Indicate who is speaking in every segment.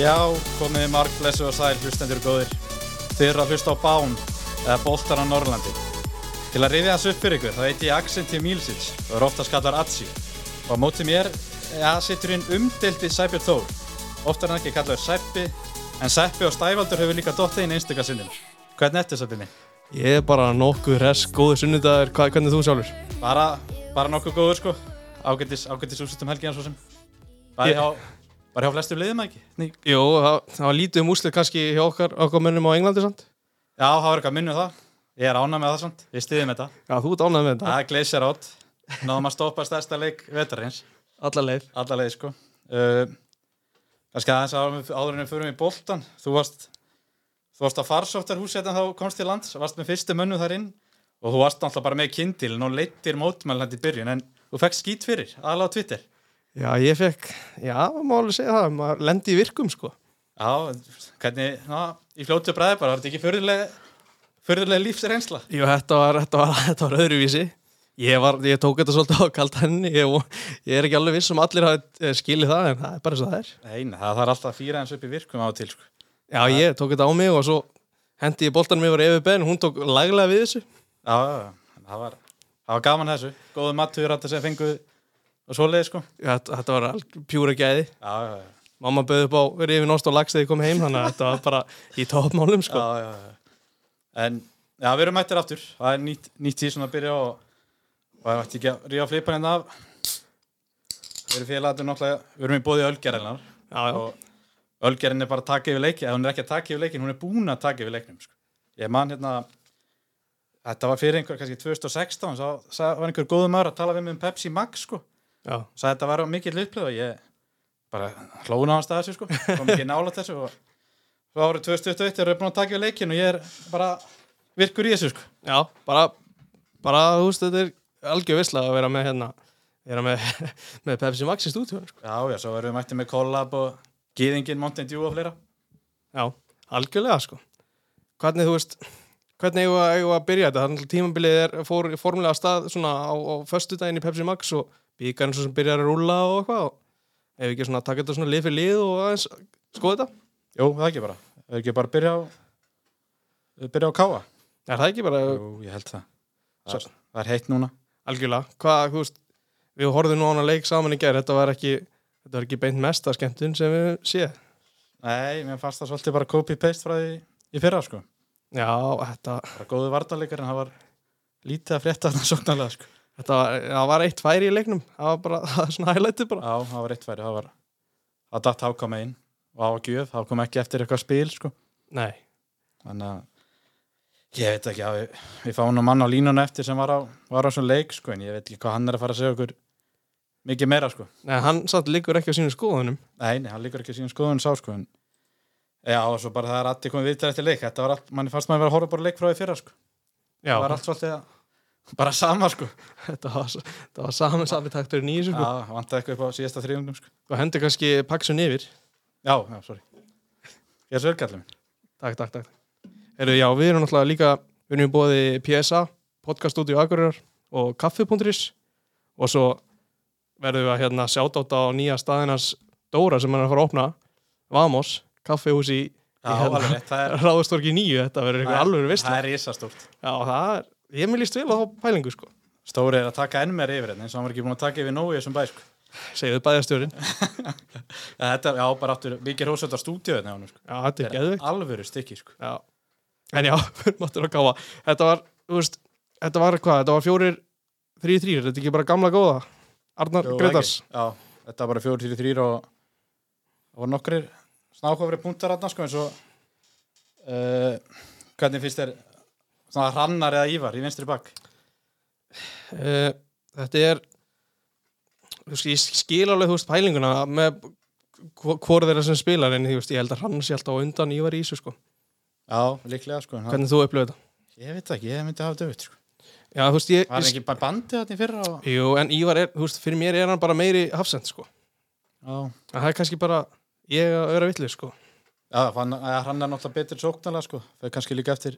Speaker 1: Já, komið marg blessu og sæl hlustendur góðir. Þið eru að hlusta á Bán eða Bóltar á Norrlandi. Til að rifja þessu upp fyrir ykkur þá heiti ég Accenti Mílsins og er ofta skallar Atsi. Og á móti mér ja, situr hinn umdelti Sæbjörn Þór. Oftar en ekki kallar Sæppi, en Sæppi og Stævaldur hefur líka dottið inn einstaka sinnum. Hvernig ertu Sæppi minn?
Speaker 2: Ég er bara nokkuð res, góður sunnudagur, hva, hvernig þú sjálfur?
Speaker 1: Bara, bara nokkuð góður sko. Ágættis, ágættis úrslutum helgina svo sem. Bara
Speaker 2: Ég-
Speaker 1: hjá, bara hjá flestum liðum ekki? Ný.
Speaker 2: Jú, það, það var lítið um úslið kannski hjá okkar, okkar mönnum á Englandi samt.
Speaker 1: Já, það var eitthvað minnum það. Ég er ánað með það samt. Við stiðum þetta.
Speaker 2: Já, þú ert ánægð með þetta.
Speaker 1: Það er gleysir átt. Náðum að stoppa stærsta leik vetarins.
Speaker 2: Alla leið.
Speaker 1: Alla leið, sko. Uh, kannski aðeins áður en við- áður en við förum í boltan. Þú varst, þú varst að farsóftar húsið en þá komst til lands. Varst með fyrstu mönnu þar inn og þú varst náttúrulega bara með kindil og leittir mótmælandi í byrjun en þú fekk skýt fyrir, aðlega á Twitter.
Speaker 2: Já, ég fekk, já, má alveg segja það, maður lendi í virkum sko.
Speaker 1: Já, hvernig, ná, í fljótu bræði bara, var þetta ekki fyrðulega, fyrðulega lífsreynsla?
Speaker 2: Jú, þetta var, þetta var, þetta var öðruvísi. Ég var, ég tók þetta svolítið á kalt henni, ég, von- ég er ekki alveg viss um allir hafi eh, skilið það, en það er bara eins og það er.
Speaker 1: Nei, nei, það þarf alltaf að fýra eins upp í virkum á og til, sko.
Speaker 2: Já, ég tók þetta á mig og svo hendi ég boltanum yfir Efi Ben, hún tók laglega við þessu.
Speaker 1: Já, já, já, það var, það var gaman þessu Góðu mattur að þessi fenguð og svoleiði sko
Speaker 2: Já, Þetta, þetta var al- pjúra gæði.
Speaker 1: Já, já, já,
Speaker 2: Mamma bauð upp á rifin ost og lags þegar ég kom heim þannig að þetta var bara í toppmálum sko.
Speaker 1: já, já, já. En, já, við erum mættir aftur Það er nýtt, nýtt tíð svona að byrja og, og það mætti ekki að ríða flipan hérna af Við erum félagatið náttúrulega Við erum í bóði Ölgerinnar
Speaker 2: Já, já.
Speaker 1: og Ölgerin er bara að taka yfir leiki eða hún er ekki að taka yfir leikin, hún er búin að taka yfir leiknum sko. Ég man hérna Þetta var fyrir einhver, kannski 2016 sá, sá, var einhver góðu maður að tala við mig um Pepsi Max sko
Speaker 2: já.
Speaker 1: sagði þetta var mikill upplöð og ég bara hlóna á hans þessu sko kom ekki nála þessu og svo árið 2021 erum við búin að taka við leikin og ég er bara virkur í þessu sko
Speaker 2: Já, bara, bara þú veist, þetta er algjör visla að vera með hérna, vera með, með Pepsi Max í stúdíu sko.
Speaker 1: já já, svo erum við mættið með collab og gýðingin Mountain Dew og fleira
Speaker 2: Já, algjörlega sko. Hvernig þú veist, hvernig eigum við að- eigum við að byrja þetta? Þannig að tímabilið er, fór formulega af stað svona á, á föstudaginn í Pepsi Max og bíkarinn svo sem byrjar að rúlla og eitthvað og ef ekki svona taka þetta svona lið fyrir lið og aðeins skoða þetta?
Speaker 1: jú, það ekki bara, það ekki bara að byrja á byrja á káa
Speaker 2: Er það ekki bara,
Speaker 1: jú, ég held það það er, það er heitt núna
Speaker 2: algjörlega, hvað, þú veist við horfðum nú á hana leik saman í gær þetta var ekki, þetta var ekki beint mesta skemmtun sem við séð.
Speaker 1: nei, mér fannst það svolítið bara copy-paste frá því í fyrra sko,
Speaker 2: Já, þetta,
Speaker 1: bara góðu vartalikar en það var lítið að frétta þarna sóknarlega sko
Speaker 2: þetta var, það var eitt færi í leiknum það var bara, það var svona highlightið bara
Speaker 1: Já, það var eitt færi, það var það datt hákama inn og það var gjöf, það kom ekki eftir eitthvað spil sko.
Speaker 2: Nei,
Speaker 1: þannig að ég veit ekki, já, við, við fáum nú mann á línuna eftir sem var á, var á svona leik sko, en ég veit ekki hvað hann er að fara að segja okkur mikið meira sko.
Speaker 2: Nei hann satt líkur ekki á sínum skoðunum
Speaker 1: Nei, nei, hann líkur ekki síðan skoðun sá sko, en já, og svo bara það er allir komið viðtæð eftir leik, þetta var allt, manni fannst maður að vera að horfa bara á leik frá því fyrra, sko.
Speaker 2: Já,
Speaker 1: það var allt svolítið að bara sama, sko,
Speaker 2: þetta var, s- þetta var saman safitakturinn í þessu
Speaker 1: já,
Speaker 2: sko.
Speaker 1: vantaði eitthvað upp á síðasta þriðungnum, sko,
Speaker 2: og hendi kannski paksun yfir
Speaker 1: já, já, sorry ég er svo ölgallum
Speaker 2: Takk, takk, takk Heru, Já, við erum náttúrulega líka við erum bóði PSA, podcaststudio Akureyrar og kaffi.is og svo verðum við að hérna sjáta á nýja staðinars Dóra sem hann er að fara að opna Vamos, kaffihús í, í
Speaker 1: já, alveg rétt, það er,
Speaker 2: Ráðustorki nýju, þetta verður eitthvað alveg vist Já,
Speaker 1: það er risastórt
Speaker 2: það er, ég mér líst vel á þá pælingu sko,
Speaker 1: Stóri er að taka enn meir yfir hérna eins og hann var ekki búin að taka yfir nógu í þessum bæ sko.
Speaker 2: segðu bæðastjórin
Speaker 1: Eða Þetta, já, bara áttur, mikið hrósöld á stúdíu hérna hjá honum, sko.
Speaker 2: Já, þetta er geðvikt
Speaker 1: Alvöru stykki, sko.
Speaker 2: Já. En já, máttur að gáfa Þetta var, þú veist, þetta var hvað þetta var fjórir, þrý, þrý, þetta er ekki bara gamla góða Arnar
Speaker 1: Jú,
Speaker 2: Gretars
Speaker 1: ekki? Já, þetta var bara fjóri, þrjir, þrjir og það voru nokkrir snákofri punktar hérna, sko, eins og uh, hvernig finnst þér svona hrannar eða ívar í vinstri bakk?
Speaker 2: Eh, þetta er þú veist, ég skil alveg þú veist pælinguna með hvort þeirra sem spilar en þú veist, ég held að hann sé alltaf á undan Ívar í þessu sko,
Speaker 1: Já, líklega, sko. en hann-
Speaker 2: hvernig þú upplöðu þetta
Speaker 1: Ég veit það ekki, ég myndi hafa döfitt, sko.
Speaker 2: já, þú veist, ég,
Speaker 1: Var hann
Speaker 2: ég
Speaker 1: ekki bara bandið þarna í fyrra og...
Speaker 2: jú, en Ívar er, þú veist, fyrir mér er hann bara meiri hafsend sko,
Speaker 1: Já,
Speaker 2: en það er kannski bara ég að vera villið sko
Speaker 1: já hann, hann er náttúrulega betur sóknarlega, sko. Það er kannski líka eftir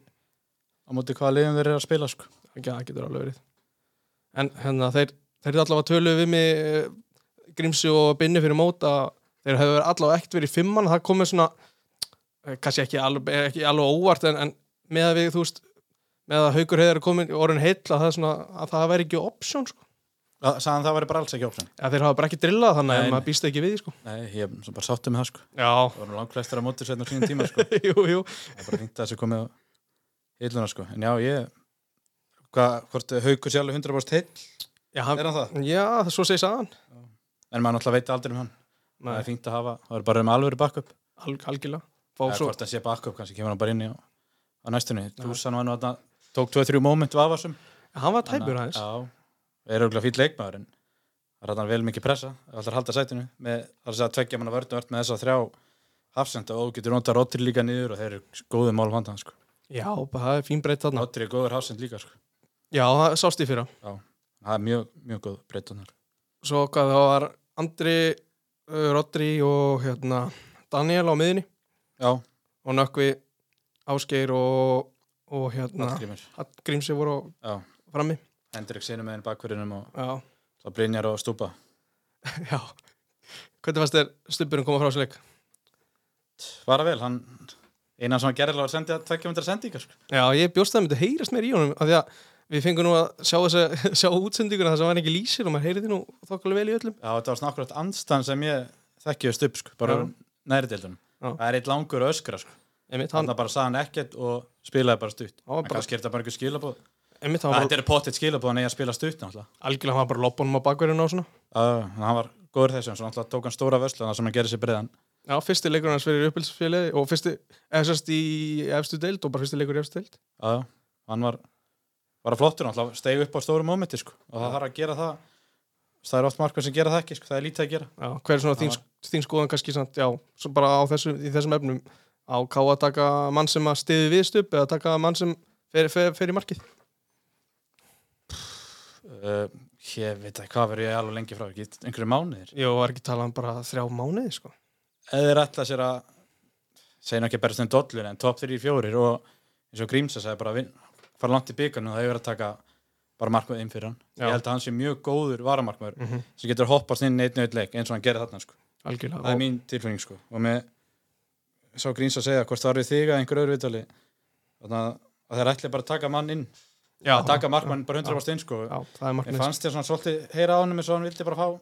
Speaker 1: á móti hvaða liðum þeir eru að spila, sko.
Speaker 2: ekki það getur alveg verið en hérna, þeir, þeir eru allavega tölu við mig eh, Grímsi og Binni fyrir mót að þeir hefðu verið allavega ekkert verið í fimmann það komið svona, eh, kannski ekki alveg, ekki alveg óvart en, en með að við, þú veist, með að haukur hefur komin orðin heill að það, er svona, að það væri ekki option, sko.
Speaker 1: Að- Sagðan það væri bara alls ekki option
Speaker 2: að þeir hafa bara ekki drillað þannig
Speaker 1: Nei,
Speaker 2: að
Speaker 1: nei.
Speaker 2: maður býst ekki við, því, sko.
Speaker 1: Nei, ég er svo bara sáttum með það sko
Speaker 2: Já,
Speaker 1: Það voru langflestir að móti setna á sínum tíma sko
Speaker 2: jú, jú.
Speaker 1: Það er bara fínt að þessu komið á hilluna sko En já, ég hva, Hvort haukur sé alveg 100% heill
Speaker 2: Já, hann,
Speaker 1: Er hann það?
Speaker 2: já, svo segir sagan.
Speaker 1: En maður náttúrulega veit aldrei um hann Það er fínt að hafa, það er bara um alveg backup
Speaker 2: Alg, algjörlega. Fá
Speaker 1: Eða
Speaker 2: svo,
Speaker 1: hvort það sé backup, kannski kemur hann bara inn í á, á næstunni Túsan var nú að tók 2-3 moment vafasum
Speaker 2: hann var tæpur aðeins.
Speaker 1: Já, er auðvitað fýll leikmaður en það er þarna vel mikið pressa alltaf að halda sætinu með það er að segja tveggja manna vörn og ört með þess að þrjá hafsenda og þú getur notað Rottir líka niður og þeir eru góðið mál vandan sko.
Speaker 2: Já, bara það er fín breytt þarna.
Speaker 1: Rottir er góður hafsend líka sko.
Speaker 2: Já, það sást í fyrra.
Speaker 1: Já, það er mjög, mjög góð breytun þar
Speaker 2: Svo hvað það var Andri, uh, Rodri og hérna, Daniel á miðinni
Speaker 1: Já,
Speaker 2: og Nökkvi, Ásgeir og, og hérna,
Speaker 1: Hallgrímur
Speaker 2: Grímsi voru á-
Speaker 1: Já,
Speaker 2: frammi.
Speaker 1: Hendrik sinni með henni bakverðinum og
Speaker 2: Já,
Speaker 1: það brinjar og stúpa
Speaker 2: já. Hvernig fannst þér stubburinn koma frá þessu leik?
Speaker 1: Vara vel, hann einan sem hann gerðilega var sendið að tveggja myndar sendingar sko.
Speaker 2: Já, ég bjóst að það myndi heyrast mér í honum af því að við fengum nú að sjá, þessa, sjá útsendinguna þess að var ekki lýsir og maður heyriði nú þokkalega vel í öllum.
Speaker 1: Já, þetta var svona akkurat andstan sem ég þekkjast upp sko, bara
Speaker 2: Já.
Speaker 1: næri deildunum
Speaker 2: Já.
Speaker 1: Það er eitt langur að öskra sko.
Speaker 2: Einmitt, hann,
Speaker 1: Þannig að bara sagði hann ekkert og spilaði bara stutt.
Speaker 2: var
Speaker 1: En
Speaker 2: bara-
Speaker 1: kannski er þetta bara einhver skilabóð.
Speaker 2: einmitt, hann var
Speaker 1: Þetta er pottitt skilabóð hann eigi að spila stutt náttúrulega.
Speaker 2: algjörlega hann var bara loppunum á bakverðinu og svona.
Speaker 1: Uh, hann var góður þessum, svo náttúrulega tók hann stóra vöslu þannig sem hann gerði sér breiðan.
Speaker 2: Já, fyrsti leikur hans fyrir uppbylsfélagi og fyrsti, eða sérst í efstu deild og bara fyrsti leikur í efstu deild.
Speaker 1: Uh, hann var, var að flottur náttúrulega, steig upp á stóru mómenti sko. Og það þarf að gera það. Það er oft markað sem gera það ekki sko, það er lítið að gera.
Speaker 2: Já, hver er svona þín, þín skoðan kannski samt, já, svo bara á þessu, í þessum efnum á ká að taka mann sem að stiði viðstup eða taka mann sem fer, fer, fer í markið
Speaker 1: Uh, ég veit ekki hvað verður ég alveg lengi frá, ekki einhverju mánuðir.
Speaker 2: Jó, var ekki talað um bara þrjá mánuði, sko
Speaker 1: Eða er alltaf sér að, segja nú ekki bara sem dollur en top 3-4 og eins og Grímsa sagði bara vinn, fara langt í byggarnu það hefur verið að taka bara markmaður inn fyrir hann
Speaker 2: Já.
Speaker 1: ég held að hann sé mjög góður varamarkmaður
Speaker 2: Mhm.
Speaker 1: sem getur hoppast inn einn og einn leik eins og hann gerir þarna sko. það
Speaker 2: Algjörlega,
Speaker 1: er
Speaker 2: og,
Speaker 1: mín tilfinning sko. og með sá Grímsa segja hvort það eru við þig að einhver öðru vitali þannig að- að þeir ætli bara að taka mann inn
Speaker 2: já,
Speaker 1: að taka markmann bara 100% inn sko.
Speaker 2: já, það er
Speaker 1: ég
Speaker 2: markmið
Speaker 1: fannst þér svona svolítið heyra á hann eins og hann vildi bara fá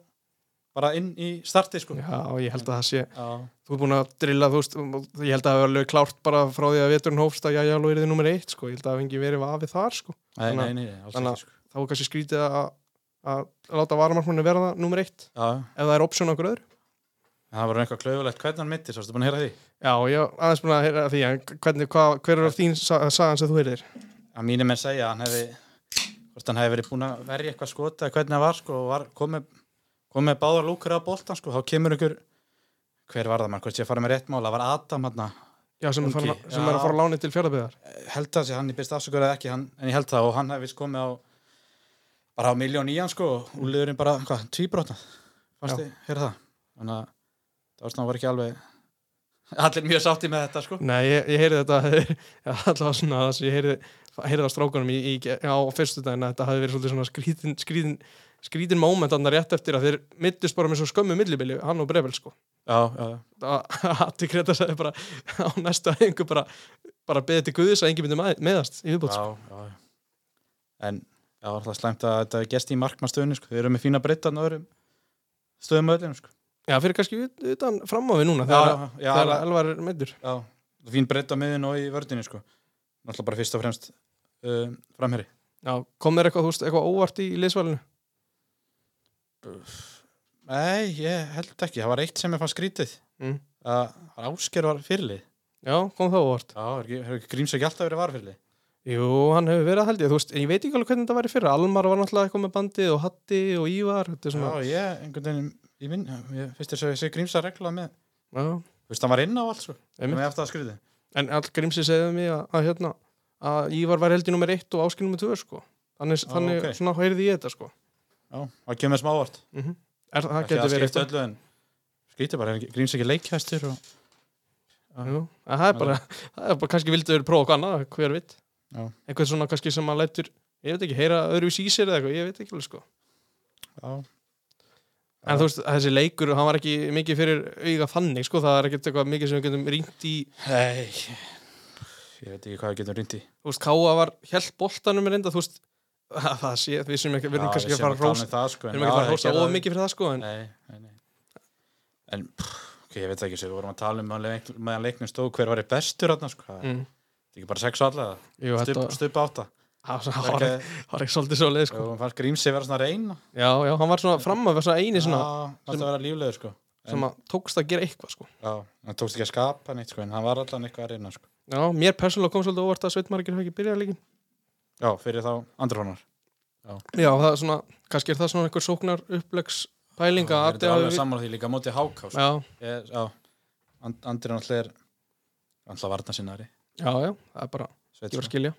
Speaker 1: bara inn í starti sko.
Speaker 2: Já, og ég held að það sé,
Speaker 1: Já.
Speaker 2: þú er búin að drilla þú veist, um, og ég held að það hefur alveg klárt bara frá því að veturinn hófst að já, já, lóriði nummer eitt, sko, ég held að það hefur engi verið vafið þar, sko,
Speaker 1: Nei,
Speaker 2: Þannig
Speaker 1: nei,
Speaker 2: að-
Speaker 1: nei, nei, alls ekki
Speaker 2: þannig að-
Speaker 1: sko.
Speaker 2: þá er kannski skrítið að, að láta varamarkmanni vera það nummer eitt,
Speaker 1: Já.
Speaker 2: ef það er option á okkur öðru
Speaker 1: það var eitthvað klaufulegt hvernig hann mitti, svo erstu búin að heyra því
Speaker 2: Já, ég var aðeins búin að heyra af því en hvernig, hva, hver er þín sa sagan sem þú heyrðir?
Speaker 1: að mínum er segja að hann hefði hvort hann hefði verið búin að verja eitthvað skota eða hvernig það var sko og var komið komið báðar lúkur á boltan sko þá kemur ykkur hver var það mann hvort ég farið með rétt mál það var Adam hann
Speaker 2: Já, sem,
Speaker 1: Ungi,
Speaker 2: okay. fara, sem
Speaker 1: já.
Speaker 2: er að fara á láni til fjörðarbyðar
Speaker 1: held að sé hann í byrst afsökur eða ekki hann, en ég held það og hann hefði vist komið á bara á miljón í hann sko og úliðurinn bara hvað tvíbrotna fannst
Speaker 2: Já.
Speaker 1: þið heyra það þannig að það var svona var ekki alveg allir mjög sátti með þetta sko
Speaker 2: Nei, ég, ég heyrði þetta já, allavega svona þess að ég heyrði, heyrði á strákunum í, í, á fyrstu daginn að þetta hafi verið svolítið svona skrítin, skrítin, skrítin moment andan rétt eftir að þeir mittist bara með svo skömmu millibili, hann og Brevil sko
Speaker 1: já, já, já.
Speaker 2: Hatti Greta sagði bara á næsta einhver bara, bara beðið til Guðis að engin myndi mæ- meðast í viðbútt sko.
Speaker 1: já, já, já. en það var alltaf slæmt að þetta er gest í markmannstöðunni sko. þeir eru með fína breytan og öðrum stöðum öllum sko.
Speaker 2: Já, fyrir kannski ut- utan fram á við núna
Speaker 1: já,
Speaker 2: þegar,
Speaker 1: já,
Speaker 2: þegar
Speaker 1: alveg-
Speaker 2: Elvar er meiddur
Speaker 1: já, já. fín breyta miðin og í vördinni sko. náttúrulega bara fyrst og fremst uh, framherri
Speaker 2: Já, kom þér eitthvað, þú veist, eitthvað óvart í liðsvalinu?
Speaker 1: nei, ég held ekki, það var eitt sem ég fann skrítið
Speaker 2: Mm.
Speaker 1: að Ásker var fyrirlið
Speaker 2: Já, kom það óvart.
Speaker 1: já, er ekki, hefur ekki Gríms ekki alltaf verið varfyrirlið
Speaker 2: Jú, hann hefur verið að held ég, þú veist, en ég veit ekki alveg hvernig þetta væri fyrir. Almar var náttúrulega eitthvað með bandið og Hatti og Ívar, þetta er
Speaker 1: já,
Speaker 2: svona,
Speaker 1: ég, einhvern veginn ég minn, ég, fyrst þess að ég sé Gríms að regla með
Speaker 2: já,
Speaker 1: þú veist, hann var inn á allt sko,
Speaker 2: einmitt.
Speaker 1: með aftur að skrítið
Speaker 2: En all grímsi segði mig að, að hérna, að Ívar var held í nummer 1 og áskil nummer 2, sko. Þannig,
Speaker 1: Já,
Speaker 2: þannig
Speaker 1: ok.
Speaker 2: svona heyrði ég þetta, sko.
Speaker 1: já, það kemur smá ávart
Speaker 2: Er, Mhm. það
Speaker 1: ekki
Speaker 2: getur
Speaker 1: að
Speaker 2: verið
Speaker 1: skipta
Speaker 2: eitthvað.
Speaker 1: öllu en skrítið bara, er gríns ekki leikjæstur og... öll.
Speaker 2: Jú, en það er bara, það er bara, kannski vildu verið prófa okkur annað, hver veit.
Speaker 1: Já.
Speaker 2: Eitthvað svona kannski sem maður lætur, ég veit ekki, heyra öðru í sér eða eitthvað, ég veit ekki alveg, sko.
Speaker 1: já,
Speaker 2: En þú veist, þessi leikur, hann var ekki mikið fyrir auga þannig, sko, það er ekkert eitthvað mikið sem við getum rýnt í,
Speaker 1: Hei, ég veit ekki hvað við getum rýnt í.
Speaker 2: þú veist, Káa var held boltanum reynda, þú veist, það sé, við sem ekki, við erum
Speaker 1: Já,
Speaker 2: kannski
Speaker 1: við
Speaker 2: að fara
Speaker 1: séum
Speaker 2: að rósa,
Speaker 1: tala um það, sko,
Speaker 2: við
Speaker 1: en
Speaker 2: erum ekki
Speaker 1: já,
Speaker 2: að fara að
Speaker 1: þeir
Speaker 2: rósa
Speaker 1: gerðu-
Speaker 2: of mikið fyrir það, sko, en
Speaker 1: Nei, nei, nei. En, pff, ok, ég veit það ekki, svo við vorum að tala um að leik, meðan leiknum stóð hver var í bestur hérna, sko. Það
Speaker 2: Mm.
Speaker 1: er ekki bara sex og alla,
Speaker 2: Jú, þetta
Speaker 1: stupa, stupa átta.
Speaker 2: það var- það var
Speaker 1: Okay.
Speaker 2: ekki- það var ekki svolítið svo leið,
Speaker 1: Og
Speaker 2: sko.
Speaker 1: hún fannst grímsi vera svona reyn.
Speaker 2: Já, já, hann var svona fram að vera svona eini svona,
Speaker 1: Það vera líflegur, sko.
Speaker 2: sem að tókst að gera eitthvað, sko.
Speaker 1: Já, hann tókst ekki að skapa neitt, sko, en hann var allan eitthvað að reyna, sko.
Speaker 2: Já, mér persónulega kom svolítið óvart að Sveitmargir hafi ekki byrjað líkin.
Speaker 1: Já, fyrir þá andrufónar.
Speaker 2: Já, það er svona, kannski er það svona einhver sóknar upplegs pæling að
Speaker 1: Það
Speaker 2: Addi
Speaker 1: er
Speaker 2: hafi-
Speaker 1: alveg sammála því líka á móti háká, sko.
Speaker 2: Já,
Speaker 1: Ég- Já, And- Andri náttúrulega er alltaf varnasinnari.
Speaker 2: já, já, það er bara,
Speaker 1: Sveit,
Speaker 2: ekki
Speaker 1: sko.
Speaker 2: var að skilja.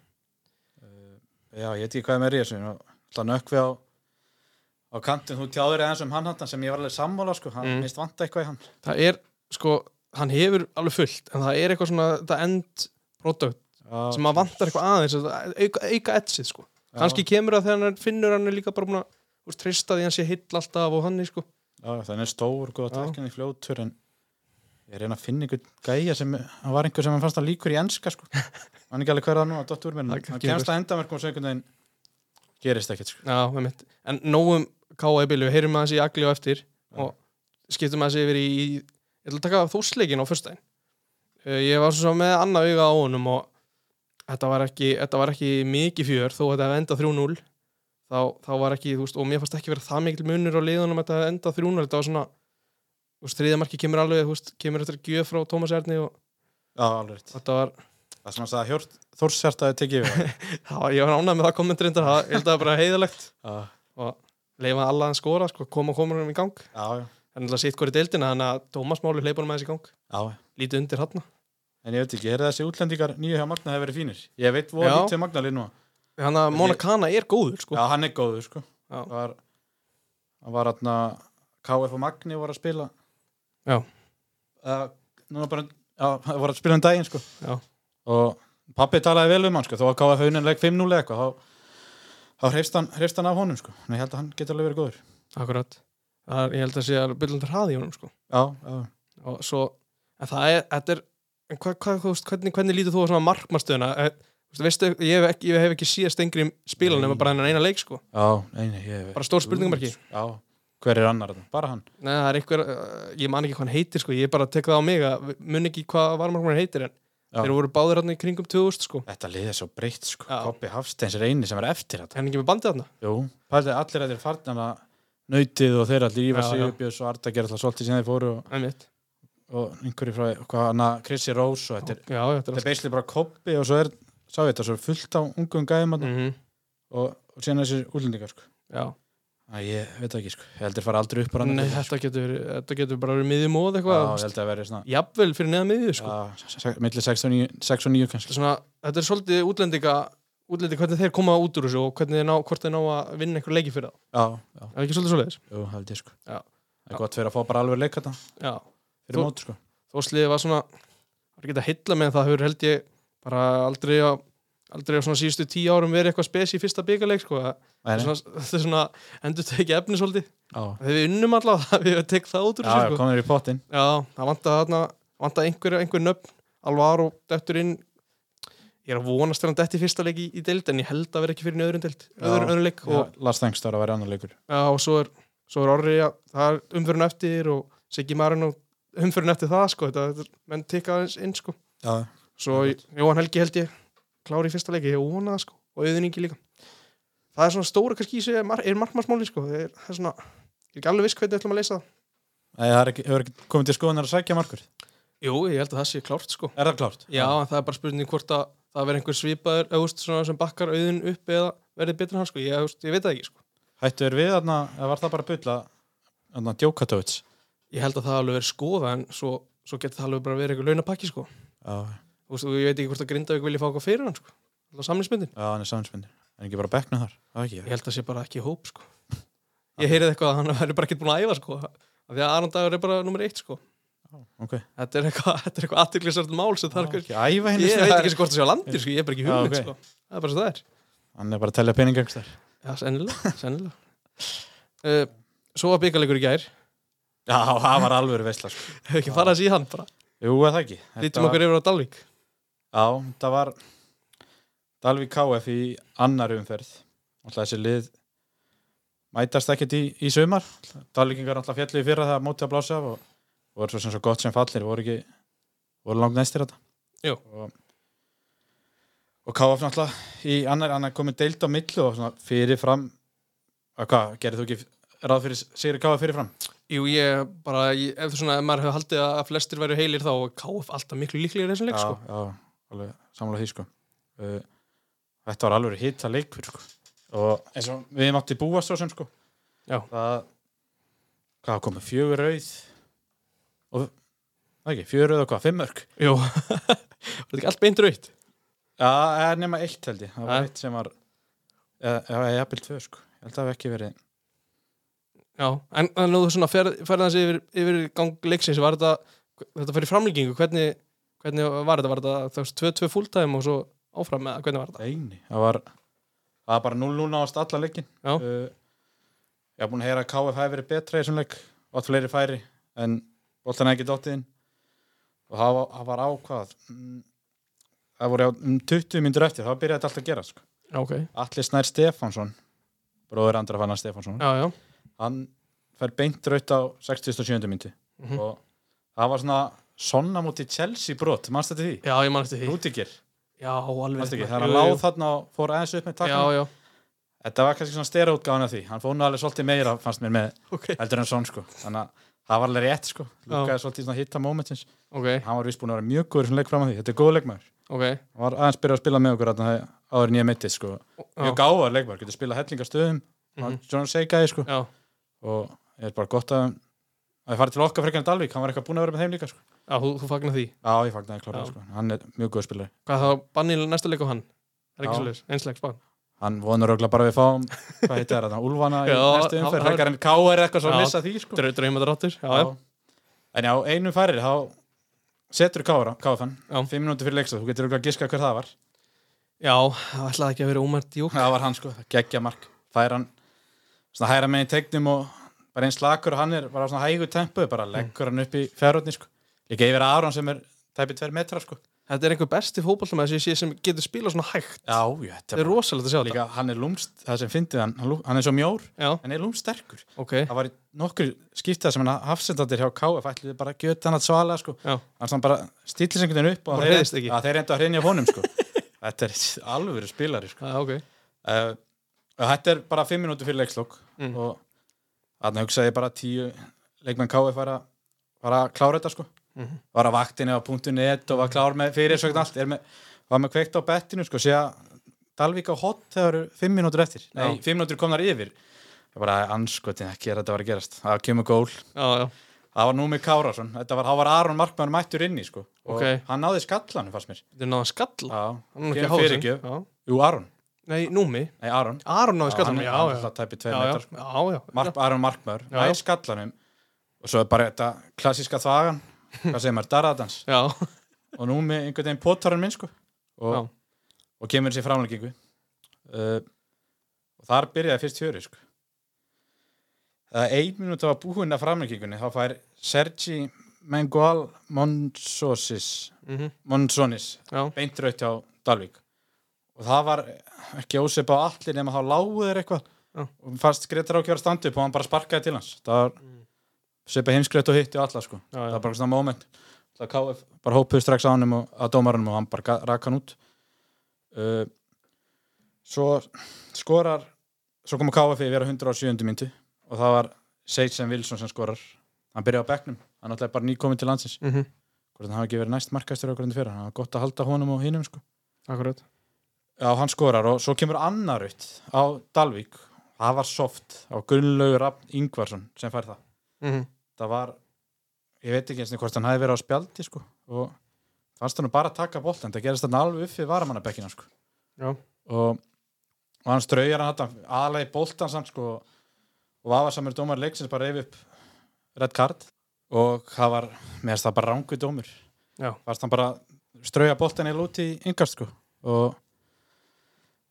Speaker 1: Já, ég veit ekki hvað er meira í þessu Það nökkvi á á kantin, þú tjáður eða eins um hann hann sem ég var alveg sammála, sko, hann
Speaker 2: Mm.
Speaker 1: mm. mist vanta eitthvað í hann
Speaker 2: það er sko, hann hefur alveg fullt en það er eitthvað svona, þetta end product
Speaker 1: já,
Speaker 2: sem að vantar eitthvað aðeins að auka, auka etsið sko, kannski kemur það þegar hann er- finnur hann er líka bara búin að þú veist, treysta því hann sé hill alltaf og hann sko
Speaker 1: já, þannig er stór, góða
Speaker 2: Já.
Speaker 1: tekjan í fljótur en ég reyna að finna einhvern gæja sem, hann var einhver sem hann fannst að líkur í enska sko, hann ekki alveg hver það nú að dottur úr mér,
Speaker 2: Það
Speaker 1: en hann
Speaker 2: gengur.
Speaker 1: kemst að endamerkum og svo einhvern veginn gerist ekkert sko
Speaker 2: Já, með mitt. En um nógum káa í E bylju, heyrum aðeins í agli og eftir og skiptum aðeins yfir í, í ég ætla að taka þúsleikin á fyrstæðin. Ég var svo sem með annað auga á honum og þetta var ekki, þetta var ekki mikið fjör þó að þetta hefði endað 3-0 þá, þá var ekki, þú veist, og mér fannst ekki verið það mikil munur á liðunum að þetta hefði endað 3-0 þetta var svona, þú veist, þriðamarki kemur alveg, þú veist, kemur þetta gjöf frá Tómas Erni og
Speaker 1: Já, alveg, rétt.
Speaker 2: þetta var
Speaker 1: það sem hann sagði Hjort Þórshjartaði tekið yfir
Speaker 2: það var, ég var ánægð með það kommentrindar, það ég held að það var bara heiðalegt
Speaker 1: Já,
Speaker 2: leifa alla að skora, sko, koma og koma um í gang
Speaker 1: já, já,
Speaker 2: Það er náttúrulega sitt hverju deildina, þannig að Tómas Máli hleypunum aðeins í gang.
Speaker 1: já
Speaker 2: Lítið undir hann.
Speaker 1: En ég veit ekki, er þessi útlendingar nýju hjá Magna hefur verið fínir? Ég veit voru
Speaker 2: Já.
Speaker 1: lítið um Magna lið núna
Speaker 2: Þannig að Mona Kana er góður, sko.
Speaker 1: Já, hann er góður sko
Speaker 2: Já.
Speaker 1: Það var, það var atna, KF og Magni voru að spila
Speaker 2: Já.
Speaker 1: uh, Núna bara, já, það voru að spila um daginn sko
Speaker 2: Já.
Speaker 1: Og pappi talaði vel um hann sko Þó að KF hauninleik 5-0 eða eitthvað Þá, þá hreifst hann, hreifst hann af honum sko En ég held að hann getur alveg verið góður
Speaker 2: Akkurat. Það er, ég held að sé að byllandi hraði í honum, sko.
Speaker 1: Já, já
Speaker 2: Og svo, en það er, þetta er, en hvað, hvað, hvað, hvernig, hvernig lítur þú á svona markmastöðuna? Eh, þú veist, Veistu, ég hef ekki, ég hef ekki síðast engri spila
Speaker 1: Nei.
Speaker 2: nema bara hennan eina leik, sko.
Speaker 1: Já, nei, nei, ég
Speaker 2: Bara stór spurningamarki.
Speaker 1: Já, hver er annar þetta? Bara hann
Speaker 2: Nei, það er einhver, eh, ég man ekki hvað hann heitir, sko. Ég bara tek það á mig að mun ekki hvað varmarkmann heitir, en
Speaker 1: Já.
Speaker 2: þeir voru báðir hann í kringum 2000, sko.
Speaker 1: Þetta lið er svo breytt sko
Speaker 2: Já.
Speaker 1: Koppi Hafsteins er eini sem er eftir þetta
Speaker 2: Er hann ekki með bandið þarna?
Speaker 1: Jú, pælið allir að þeir farnana nautið og þeir allir Ívar
Speaker 2: Já, já.
Speaker 1: Sigurbjörns og Arda gerði alltaf svolítið sem þeir fóru og,
Speaker 2: Einmitt.
Speaker 1: og einhverju frá hvað hana Chrissy Rose og þetta er,
Speaker 2: Já, þetta er
Speaker 1: þetta er beislega bara koppi og svo er, sá ég þetta, svo er fullt á ungum gæðum mm.
Speaker 2: alltaf. Mhm.
Speaker 1: og, og síðan þessir útlendingar sko.
Speaker 2: Já.
Speaker 1: Æ, ég veit ekki, sko. ég held þeir fara aldrei upp á rann
Speaker 2: Nei, þetta getur, verið- þetta getur bara verið miðjum og
Speaker 1: sko. Já, ég
Speaker 2: eitthvað þú veist.
Speaker 1: held að verði svona
Speaker 2: Jafnvel fyrir neða miðju sko.
Speaker 1: já, se- se- milli 6 og 9, 6 og 9
Speaker 2: þetta, er
Speaker 1: kannski
Speaker 2: svona, þetta er svolítið útlendinga útlendinga hvernig þeir koma út úr þessu og hvernig þeir ná, hvort þeir ná að vinna einhver leiki fyrir það
Speaker 1: Já, já,
Speaker 2: Er það ekki svolítið svoleiðis?
Speaker 1: jú, held ég sko
Speaker 2: Já.
Speaker 1: Það er gott fyrir að fá bara alveg leik þetta
Speaker 2: Já
Speaker 1: fyrir
Speaker 2: Þú-
Speaker 1: mót sko
Speaker 2: Þórsliðið var svona var ekki að hylla með það hefur held ég bara aldrei að aldrei á svona síðustu tíu árum verið eitthvað spes í fyrsta byggarleik sko. Það
Speaker 1: Nei,
Speaker 2: er
Speaker 1: nei.
Speaker 2: svona, þetta er svona endur tekið efni svolítið
Speaker 1: Já,
Speaker 2: þegar við unnum alltaf við hefum tekið það út úr
Speaker 1: já,
Speaker 2: þessu sko.
Speaker 1: komið í pottin
Speaker 2: Já, það vantaði þarna vantaði einhver, einhver nöfn Alvaro dættur inn ég er að vonast þegar hann dætti fyrsta leik í, í deild en ég held að vera ekki fyrir nöðrun deild öðru,
Speaker 1: Já,
Speaker 2: öðru leik og,
Speaker 1: og Lars Þengst þarf að vera annar leikur
Speaker 2: já, og svo er, svo er orri að það er umfyrin eftir og Siggi Marin og umfyrin eftir það sko, þetta, þetta er- menn tikka aðeins inn sko.
Speaker 1: Já,
Speaker 2: svo
Speaker 1: Já,
Speaker 2: Jóhann Helgi held ég klári í fyrsta leik, ég vona það sko og auðningi líka það er svona stóra kannski í sig, er, mar er markmannsmáli sko það er, það er svona, ég er ekki alveg viss hvernig við ætlum að leysa það
Speaker 1: Nei, það er ekki, hefur ekki komið til skoðunar að sækja markur.
Speaker 2: Jú, ég held að það sé klárt sko
Speaker 1: Er það klárt?
Speaker 2: Já, en það er bara spurning hvort að það verður einhver svipaður auðvist svona sem bakkar auðin upp eða verður betur en hann sko, ég, auðvist, ég veit það ekki sko.
Speaker 1: Hættu er við þarna, eða var það bara bull að, þarna, djókatóts?
Speaker 2: Ég held að það alveg verður skoða en svo, svo getur það alveg bara verið einhver launapakki sko.
Speaker 1: Já, já,
Speaker 2: Þú veist, og ég veit ekki hvort að Grindavík vilja fá eitthvað fyrir hann sko. Alltaf samlingsmyndin.
Speaker 1: hann er samspöndir. En ekki bara bekkna þar? Það ekki,
Speaker 2: Ég held að það sé bara ekki í hóp sko. Ég heyrið eitthvað að hann verður bara ekki búin að æfa sko. af Því að Aron Dagur er bara nummer eitt sko.
Speaker 1: ok.
Speaker 2: Þetta er eitthvað, þetta er eitthvað aðtiklisvært mál sem það er kannski.
Speaker 1: ekki æfa henni.
Speaker 2: Ég veit ekki eins og hvort það sé á landi sko. Ég er bara ekki
Speaker 1: Já, ok.
Speaker 2: hugmynd sko. Það er bara svo það er.
Speaker 1: Hann er bara að tellja peninga ykkur þar.
Speaker 2: Já, sennilega, sennilega. Uh, svo var byggarleikur í gær
Speaker 1: Já, það var alveg veistla sko.
Speaker 2: hefur ekki farað þessi í hann bara
Speaker 1: Jú, er það ekki Þetta
Speaker 2: lítum
Speaker 1: var-
Speaker 2: okkur yfir á Dalvík
Speaker 1: Já, það var Dalvík KF í annar umferð Alltaf þessi lið mætast ekkert í, í sumar Dalvíkingar alltaf fjallu í fyrra þegar móti að blása af og voru svo sem svo gott sem fallir voru ekki, voru langt næstir þetta
Speaker 2: Jú.
Speaker 1: og, og KF alltaf í annar, annar komið deild á millu og svona fyrirfram að hvað, gerir þú ekki ráð fyrir Sigur KF fyrirfram?
Speaker 2: Jú, ég bara, ég, ef svona, ef maður hefur haldið að að flestir væru heilir þá er KF alltaf miklu líklegir í þessum leik, sko.
Speaker 1: já, já, alveg sammála því sko uh, Þetta var alveg hitta leikur sko og eins og við mátti búast svo sem sko
Speaker 2: Já.
Speaker 1: það hvað komið, fjögur auð og það ekki, fjögur auð og hvað, fimm mörg
Speaker 2: Jú, var þetta ekki allt beint rautt?
Speaker 1: Já, eh, nema eitt held ég, það var
Speaker 2: Já.
Speaker 1: eitt sem var eða eða jafnvel tvö sko ég held að það hafi ekki verið
Speaker 2: Já, en en nú þú svona ferð þessi yfir, yfir gang leiksins, var þetta, þetta fyrir framlíkingu, hvernig, hvernig var þetta, var þetta þú veist, 2-2 fulltime og svo áfram með, hvernig var þetta?
Speaker 1: eini, það var það var bara 0-0 náðast alla leikin
Speaker 2: Já.
Speaker 1: uh, ég haf búin að heyra að KF hafi verið betra í þessum leik og átt fleiri færi en boltan ekki dottiðin og það var, það var ákvað mm, það voru á um 20 myndur eftir þá byrjaði þetta allt að gera sko.
Speaker 2: Já, ok.
Speaker 1: Atli Snær Stefánsson bróður Andra Fannar Stefánsson
Speaker 2: Já, já,
Speaker 1: hann fær beint raut á 67. myndi
Speaker 2: Mhm.
Speaker 1: og það var svona sonna múti Chelsea brot, mannst þetta því?
Speaker 2: já, ég man eftir því.
Speaker 1: Rúdikir,
Speaker 2: Já, alveg.
Speaker 1: mannst ekki,
Speaker 2: Jú,
Speaker 1: það er að
Speaker 2: jú,
Speaker 1: láð
Speaker 2: jú.
Speaker 1: þarna og fór aðeins upp með
Speaker 2: Já,
Speaker 1: takna
Speaker 2: já,
Speaker 1: Þetta var kannski svona steraútgáðan af því Hann fór nú alveg svolítið meira, fannst mér með
Speaker 2: ok.
Speaker 1: heldur en svona sko Þannig að það var alveg rétt sko Lukaði svolítið svona hitta momentins
Speaker 2: Ok,
Speaker 1: Hann var vísbúin að vera mjög góður sem leik fram að því Þetta er góð leikmaður
Speaker 2: ok.
Speaker 1: Hann var aðeins byrjað að spila með okkur þarna þegar- áður en ég mittið sko
Speaker 2: Já,
Speaker 1: Mjög gáðar leikmaður, getur spilað hellingastöðum mm
Speaker 2: Mhm.
Speaker 1: -hmm. Svona seikaði sko
Speaker 2: já,
Speaker 1: Og ég er bara gott að að þið farið til okkar frekar en Dalvík Hann var eitthvað búin að vera með þeim líka sko
Speaker 2: já, þú, þú fagnar því.
Speaker 1: Já, ég fagnaði klárlega,
Speaker 2: Já.
Speaker 1: sko. Hann er mjög góður spilari.
Speaker 2: Hvað þá, bannið næsta leik á hann? Er ekki
Speaker 1: Já.
Speaker 2: svolítið, einslegs bann?
Speaker 1: Hann vonar örugglega bara að við fáum, hvað heitir þetta, Úlfana í
Speaker 2: Já,
Speaker 1: næstu umferð,
Speaker 2: hann-
Speaker 1: frekar en KR eitthvað svo að
Speaker 2: Já.
Speaker 1: missa því, sko.
Speaker 2: Drau- Draumadráttur, já, já.
Speaker 1: já. En já, einu færri, þá setur kára, káfan,
Speaker 2: Já.
Speaker 1: fimm minútur fyrir leikstað, þú getur auðvitað að giska hver það var.
Speaker 2: Já, það ætlaði ekki að vera ómært júk.
Speaker 1: Það var hann sko, geggja mark, fær hann svona hæra með í tegnum og bara eins lakur og hann er bara á svona hægu tempu, bara leggur hann upp í fjárhóttni sko. Líka yfir Aron sem er tæpi tver metra sko.
Speaker 2: Þetta er einhver besti fótballmaður sem ég sé sem getur spilað svona hægt.
Speaker 1: Já, jú, þetta
Speaker 2: Þetta er
Speaker 1: er
Speaker 2: rosalegt að sjá þetta.
Speaker 1: líka, hann er lúmst, það sem fyndið hann, hann lú- hann er svo mjór,
Speaker 2: Já,
Speaker 1: hann er lúmst sterkur.
Speaker 2: ok.
Speaker 1: Það var í nokkur skiptað sem hann hafsendandir hjá KF ætluði bara að gjöta hann að svala sko.
Speaker 2: Já,
Speaker 1: hann svona bara stillir sem einhvern veginn upp og
Speaker 2: Bara
Speaker 1: þeir-
Speaker 2: hreiðist ekki.
Speaker 1: að þeir reyndu að hreinja honum sko. þetta er alvöru spilari sko.
Speaker 2: já, ok.
Speaker 1: uh, þetta er bara fimm minútur fyrir leikslokk
Speaker 2: Mm.
Speaker 1: og þannig hugsaði ég bara tíu leikmenn KF var að, var að klára þetta sko.
Speaker 2: Mhm.
Speaker 1: var að vaktinni á punktu.net og var klár með fyrirsögn allt er með, var með kveikt á bettinu sko, sé að Dalvík á hot þegar eru fimm minútur eftir nei,
Speaker 2: Já.
Speaker 1: fimm minútur komnar yfir ég bara anskotin ekki er þetta var að gerast það kemur gól
Speaker 2: Já, já,
Speaker 1: Það var Númi Kárásson, þetta var, þá var Aron Markmann mættur inn í sko og
Speaker 2: Ok.
Speaker 1: hann náði skallanum fannst mér
Speaker 2: þetta er náðan skalla.
Speaker 1: Já,
Speaker 2: Hann er nú ekki
Speaker 1: Kemur
Speaker 2: að háða sig.
Speaker 1: fyrirgjöf.
Speaker 2: Já.
Speaker 1: jú Aron,
Speaker 2: Nei, Númi.
Speaker 1: nei Aron
Speaker 2: Aron náði skallanum, já,
Speaker 1: Hann er
Speaker 2: já.
Speaker 1: alltaf tæpið
Speaker 2: Já,
Speaker 1: tveir
Speaker 2: já,
Speaker 1: metrar sko.
Speaker 2: já, já.
Speaker 1: Mark, Aron Markmann,
Speaker 2: Já, já.
Speaker 1: nær skallanum og svo er bara þetta klassíska þvagan hvað segir maður, darraðans
Speaker 2: Já,
Speaker 1: og Númi einhvern veginn potarinn minn sko
Speaker 2: já.
Speaker 1: og, og kemur sér framleggingu uh, og þar byrjaði fyrst hjöri sko það ein minúta var búin að framleggingunni þá fær Sergi Mengual Monsosis
Speaker 2: mhm,
Speaker 1: Monsonis,
Speaker 2: Já,
Speaker 1: beint raut hjá Dalvík og það var ekki ósef á allir nema þá lágu þeir eitthvað
Speaker 2: Já.
Speaker 1: og fast Gretar ákjöra standi upp og hann bara sparkaði til hans það var mm. sepa heimskreitt og hitti alla sko.
Speaker 2: já,
Speaker 1: það
Speaker 2: já.
Speaker 1: var bara svona moment það KF bara hópuð strax á hann og að dómarunum og hann bara ga- rak hann út uh, svo skorar svo kom KF yfir á 107. myndu og það var Seysen Wilson sem skorar hann byrjaði á bekknum, hann alltaf bara nýkominn til landsins
Speaker 2: Mhm,
Speaker 1: hvort hann hafi ekki verið næst markastur okkur endur fyrir hann var gott að halda honum og hinum sko.
Speaker 2: akkurat.
Speaker 1: já, hann skorar og svo kemur annar ut á Dalvík það var soft, það var Gunnlaugur Rafn Ingvarsson sem fær það
Speaker 2: Mhm,
Speaker 1: það var, ég veit ekki eins og hvort hann hafi verið á spjaldi sko, og fannst hann bara að taka boltan það gerist hann alveg upp við varamannabekkina sko.
Speaker 2: Já.
Speaker 1: og, og hann straujar hann þarna, aðlega í boltan samt sko, og vafasamur dómar leiksins bara reyf upp red card og það var, meðast það bara rángu dómur
Speaker 2: Já.
Speaker 1: fannst hann bara strauja boltan í lúti í yngast sko og,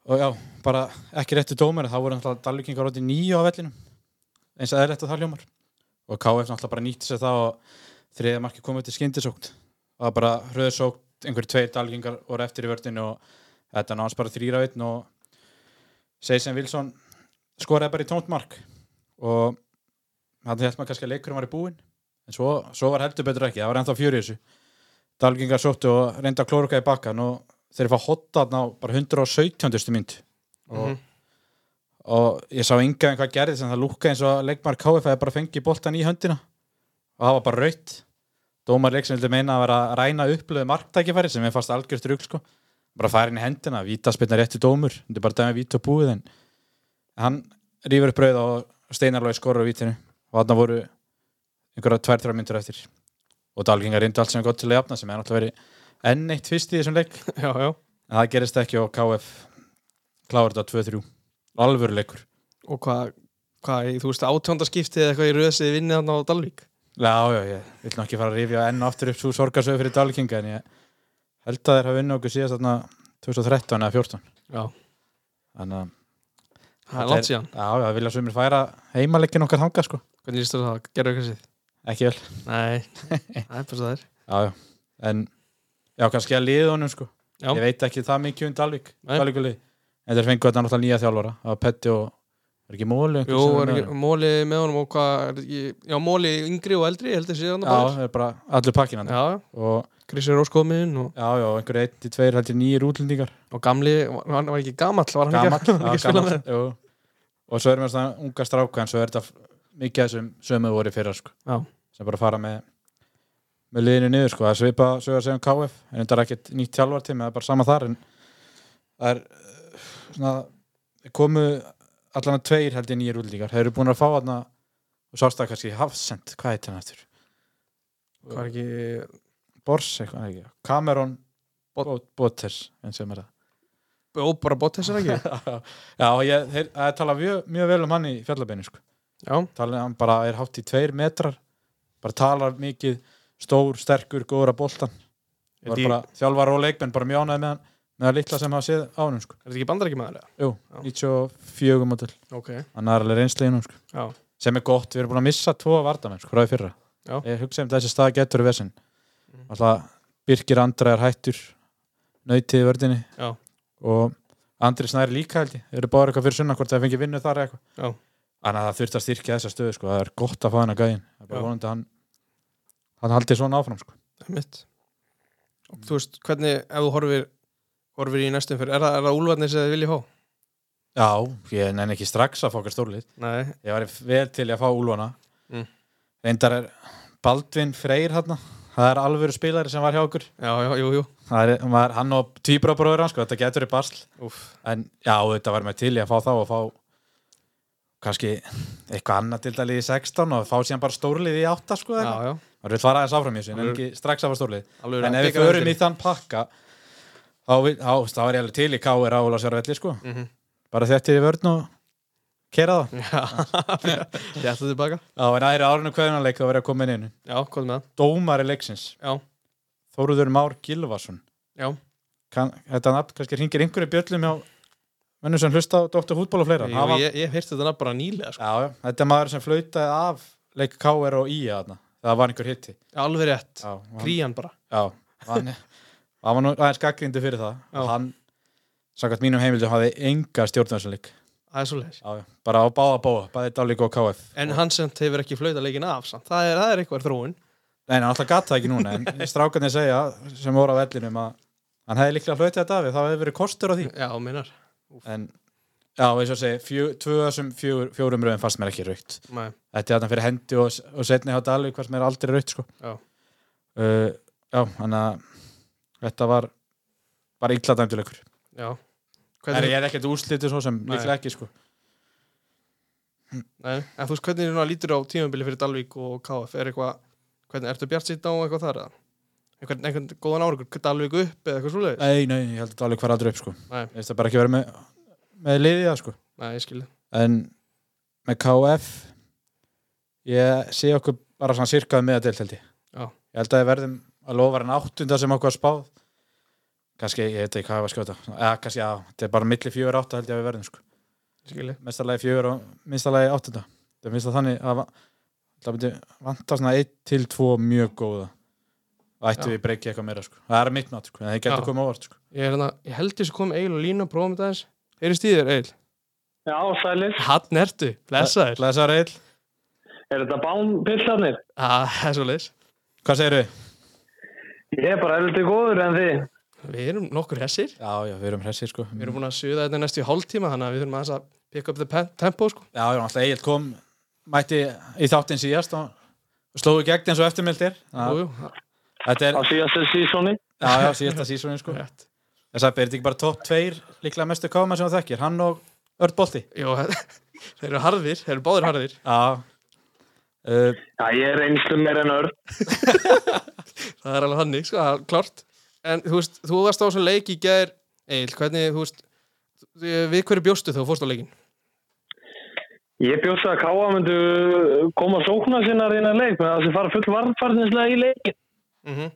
Speaker 1: og já, bara ekki réttu dómur þá voru náttúrulega dalvíkingar átti nýju á vellinum eins og eðlilegt og það hljómar og KF náttúrulega bara nýtti sér það og þriðja marki komið til skyndisókn það var bara hröðsókn einhverjir tveir dalgingar voru eftir í vördinu og þetta náðast bara þrýra einn og Seisen Wilson skoraði bara í tómt mark og hann held maður kannski að leikurum var í búin en svo, svo var heldur betur ekki, það var ennþá fjöri þessu dalgingar sóttu og reynda að klóruka í bakkan og þeir fá hotta á bara 117. mynd og
Speaker 2: Mhm.
Speaker 1: og ég sá yngan hvað gerðist en það lúkka eins og leikmar KF að bara fengi boltan í höndina og það var bara raut dómar leik sem vildi meina að vera að ræna upplöðu marktækifæri sem er fast algjörst rugg sko bara færa inn í hendina, vítaspinna rétti dómur þetta er bara dæmi vít og búið en hann rýfur upp brauð og steinarlói skorur á vítinu og þarna voru einhverja tvær, þrjá myndur eftir og Dalgingar reyndu allt sem er gott til að jafna sem er náttúrulega verið enn eitt fyrst í þessum leik
Speaker 2: já, já,
Speaker 1: en það gerist ekki og KF kláður þetta 2-3 alvöru leikur
Speaker 2: og hvað hvað, í, þú veist, átjóndaskipti eða eitthvað í röðsið vinnið hann á Dalvík
Speaker 1: Já, já, ég vil nú ekki fara að rifja enn og aftur upp svo sorgarsöðu fyrir Dalkinga en ég held að þeir hafa unni okkur síðast þarna 2013 eða 14
Speaker 2: Já.
Speaker 1: Þannig að,
Speaker 2: það er
Speaker 1: Þetta
Speaker 2: langt síðan,
Speaker 1: já, já, vilja sumir færa heimaleikin okkar þangað sko,
Speaker 2: hvernig líst þér á það, gerðu eitthvað síð
Speaker 1: ekki vel
Speaker 2: nei, það er bara svo það er
Speaker 1: Já, já, en já, kannski að liða honum sko
Speaker 2: Já.
Speaker 1: Ég veit ekki það mikið um Dalvik
Speaker 2: Nei.
Speaker 1: Dalvíkulið, en þeir fengu þetta náttúrulega nýja þjálfara það var Petti og, er ekki Móli? einhver
Speaker 2: Jú,
Speaker 1: sem
Speaker 2: er
Speaker 1: með
Speaker 2: ekki
Speaker 1: honum?
Speaker 2: móli með honum og hvað, er ekki- já, móli yngri og eldri, ég held ég síðan
Speaker 1: Já, það er bara allur pakkinan
Speaker 2: já, já,
Speaker 1: og
Speaker 2: Krissi Róskoðmiðin og,
Speaker 1: já, já, einhverju eitt í tveir heldur nýjir útlendingar
Speaker 2: og gamli, var- hann var ekki gamall, var hann
Speaker 1: gamall,
Speaker 2: ekki, hann
Speaker 1: já,
Speaker 2: ekki að spila
Speaker 1: gamall
Speaker 2: með
Speaker 1: jú. og svo erum við svona unga stráka en svo er þetta f- mikið af þessum sömu voru í fyrra sko.
Speaker 2: Já.
Speaker 1: sem bara fara með með liðinu niður, sko. það er svipa sögur að segja um KF, en þetta er ekkert nýtt tjálfartími það er bara sama þar en það er eh, svona komu allan að tveir held ég nýjir útlíkar, þeir eru búin að fá þarna og sástað kannski Hafsend, hvað heitir hann eftir?
Speaker 2: hvað er ekki,
Speaker 1: Bors eitthvað, ekki, Cameron
Speaker 2: Bot-
Speaker 1: Bot Botters, en sem er það
Speaker 2: ó, bara Bottas er ekki
Speaker 1: Já, ég, þeir, það er talað mjög, mjög vel um hann í fjallabeinu sko.
Speaker 2: já,
Speaker 1: talað hann bara er hátt í tveir metrar bara talar mikið stór, sterkur, góður að boltan
Speaker 2: Er
Speaker 1: var
Speaker 2: því-
Speaker 1: bara þjálfar og leikmenn bara mjög ánæði með hann með það litla sem hafa séð á hann sko.
Speaker 2: er þetta ekki bandar ekki með það
Speaker 1: Jú,
Speaker 2: Já.
Speaker 1: 94 mótil
Speaker 2: ok,
Speaker 1: hann er alveg reynslegin sko.
Speaker 2: já,
Speaker 1: sem er gott, við erum búin að missa tvo vartamenn sko, frá í fyrra
Speaker 2: Já.
Speaker 1: ég hugsa um þessi stað getur við vesinn
Speaker 2: Mhm.
Speaker 1: alltaf Birkir Andra er hættur nautið í vördinni
Speaker 2: Já.
Speaker 1: og Andri Snær líka held ég þeir eru báður eitthvað fyrir sunna hvort það fengi vinnu þar eða eitthvað
Speaker 2: Já.
Speaker 1: þannig að það þurft að styrkja þessa stöðu sko. það er gott að fá hann að gæðin það er bara
Speaker 2: Já.
Speaker 1: vonandi að hann hann haldi svona áfram sko.
Speaker 2: mitt og þú veist, hvernig, ef þú horfir horfir í næstum fyrir, er það, er það úlfarnir sem þið vilja hó?
Speaker 1: já, ég nenni ekki strax að fá okkar stórlið
Speaker 2: nei,
Speaker 1: ég var vel til í að fá Úlfana
Speaker 2: Mm.
Speaker 1: reyndar er Baldvin Freyr hann það er alvöru spilari sem var hjá okkur
Speaker 2: já, já, jú, jú
Speaker 1: Það er, maður, hann og tvíbrabróður hans, sko, þetta getur í basl
Speaker 2: Úf.
Speaker 1: en já, þetta var með til í að fá þá og fá kannski eitthvað annað til dæli í 16 og fá síðan bara stórlið í 8 sko,
Speaker 2: já,
Speaker 1: það
Speaker 2: já,
Speaker 1: er svara aðeins áfram í þessu, en
Speaker 2: Alveg-
Speaker 1: ekki strax af að stórlið
Speaker 2: alveg
Speaker 1: en ef við förum í þann pakka þá, vil- þá, þá er ég alveg til í K.R. á Úlasjárvelli sko,
Speaker 2: Mhm.
Speaker 1: bara þetta í vörn og kera það
Speaker 2: já, ég ætla tilbaka
Speaker 1: á en aðri árunum hverjanleik þá verið að koma inn einu
Speaker 2: já, hvað með það?
Speaker 1: dómari leiksins
Speaker 2: Já.
Speaker 1: Þóruður Már Gilvason
Speaker 2: Já.
Speaker 1: kan, Þetta nafn kannski ringir einhverju bjöllum hjá mönnum sem hlusta á Dr. Hútból og fleira
Speaker 2: Ég,
Speaker 1: Hann var-
Speaker 2: ég, ég heyrti þetta nafn bara nýlega sko.
Speaker 1: já, já, Þetta er maður sem flautaði af leik KR og IA þarna. það var einhver hitti
Speaker 2: alveg rétt,
Speaker 1: Já, og hann,
Speaker 2: krían bara
Speaker 1: já, hann, hann var nú aðeins gaggrindu fyrir það
Speaker 2: Já.
Speaker 1: og hann, samkvæmt mínum heimildu hafði enga stjórnarsanleik
Speaker 2: það er svolítið
Speaker 1: bara á báða bóða, bæði Dálík og KF
Speaker 2: en hann sem hefur ekki flauta leikin af samt. það er, það er eitthvað þróun
Speaker 1: Nei, hann alltaf gata það ekki núna en strákarnir segja sem voru á vellinum að hann hefði líklega flautað þetta af því, það hefði verið kostur á því
Speaker 2: já, minnar
Speaker 1: en já, eins og segi, fjö, tvö sem fjör, fjórum rauðum fannst mér ekki raukt
Speaker 2: Nei.
Speaker 1: þetta er þarna fyrir hendi og, og setni hjá Dalvik fannst mér aldrei raukt sko.
Speaker 2: Já.
Speaker 1: uh, já, þannig að þetta var bara illa dæmduleikur
Speaker 2: já
Speaker 1: en
Speaker 2: hvernig,
Speaker 1: ég er ekkert úrslitið svo sem
Speaker 2: Nei.
Speaker 1: líklega ekki sko.
Speaker 2: nei, en þú veist hvernig núna lítur á tímabili fyrir Dalvík og KF er eitthvað, hvernig ertu bjart sýtt á eitthvað þar eða? einhvern, einhvern góðan ára Dalvík upp eða eitthvað svolítið
Speaker 1: nei, nei, ég held að Dalvik var aldrei upp sko.
Speaker 2: Nei.
Speaker 1: Ég veist það bara ekki verið með, með liðið það, sko.
Speaker 2: nei, ég skil
Speaker 1: en með KF ég sé okkur bara svona sirkaði með að deilt held ég
Speaker 2: Já.
Speaker 1: ég held að við verðum að lofa en áttunda sem okkur var spáð kannski, ég veit ekki hvað ég var að skjóta eða kannski, já, þetta er bara milli fjögur átta held ég að við verðum sko.
Speaker 2: skil
Speaker 1: mestarlagi fjögur og minnstarlagi áttunda það finnst það þannig að va- það myndi vanta svona 1 til 2 mjög góða ættu
Speaker 2: Já.
Speaker 1: við breykið eitthvað meira sko. það er mitt mat, sko. en það getur
Speaker 2: Já.
Speaker 1: komið óvart sko.
Speaker 2: Ég, er hérna, ég held þess að koma Egil og Lína og prófa með þess. Heyrist í þér, Egil?
Speaker 3: Já, sælir.
Speaker 2: Hann ertu, blessaður.
Speaker 1: Lesaður eil,
Speaker 3: Er þetta bánpillarnir?
Speaker 2: Ah, Það er svo leis.
Speaker 1: hvað segir við?
Speaker 3: Ég er bara heldur góður en þið.
Speaker 2: Við erum nokkur hessir.
Speaker 1: Já, já, við erum hressir sko.
Speaker 2: Við erum búin að suða þetta næstu í hálftíma þannig að við þurfum aðeins að pick up the pe- tempo sko.
Speaker 1: Já, já, alltaf Egil kom mætti í þáttinn síðast og slóðu gegn eins og eftirmildir
Speaker 2: Jú,
Speaker 1: Já,
Speaker 2: jú, það
Speaker 1: Þetta er,
Speaker 3: Á síðastu sísóni.
Speaker 1: já, já, síðasta sísónin sko
Speaker 2: er rétt.
Speaker 1: Þess að byrði ekki bara topp tveir líklega mestu káma sem þú þekkir, hann og Örn Bolti
Speaker 2: Jú, þeir eru harðir, þeir eru báðir harðir.
Speaker 1: Já uh,
Speaker 3: Já, ég er einslu meir en örn.
Speaker 2: Það er alveg hannig, sko, það er klart. En þú veist, þú varst á þessum leik í gær, Egil, hvernig, þú veist, við hverju bjóstu þegar þú fórst á leikin?
Speaker 3: Ég bjóst að Káa myndu koma sókna sinna reyna leik með það sem fara full varnfarnislega í leikin.
Speaker 2: Mm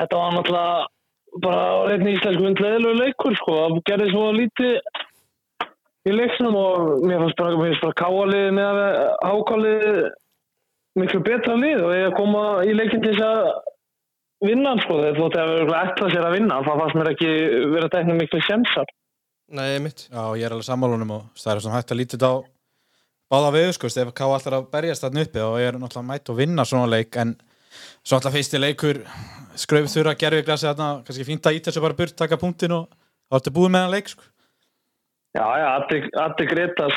Speaker 3: Þetta var náttúrulega bara reyndin íslensku myndleðilegu leikur sko. Það gerði svo lítið í leiknum og mér fannst bara, mér fannst bara Káa-liðið með að hákáliðið miklu betra lið og ég að koma í leikin til þess að vinna hann sko. Þegar þú ætti að vera eitthvað sér að vinna hann, það fannst mér ekki vera dækna miklu sjemsar.
Speaker 2: Nei, mitt.
Speaker 1: Já, ég er alveg sammálunum og það er svona hægt að lítið á báða við, sko, ef Ká allar að berjast þarna uppi og ég er náttúrulega mætt að vinna svona leik en svo alltaf fyrsti leikur skröfið þurra, gerfið glasi þarna kannski fínt að íta þessu bara burt, taka punktin og þá ertu búið með hann leik, sko
Speaker 3: Já, já, Addi, Addi Gretas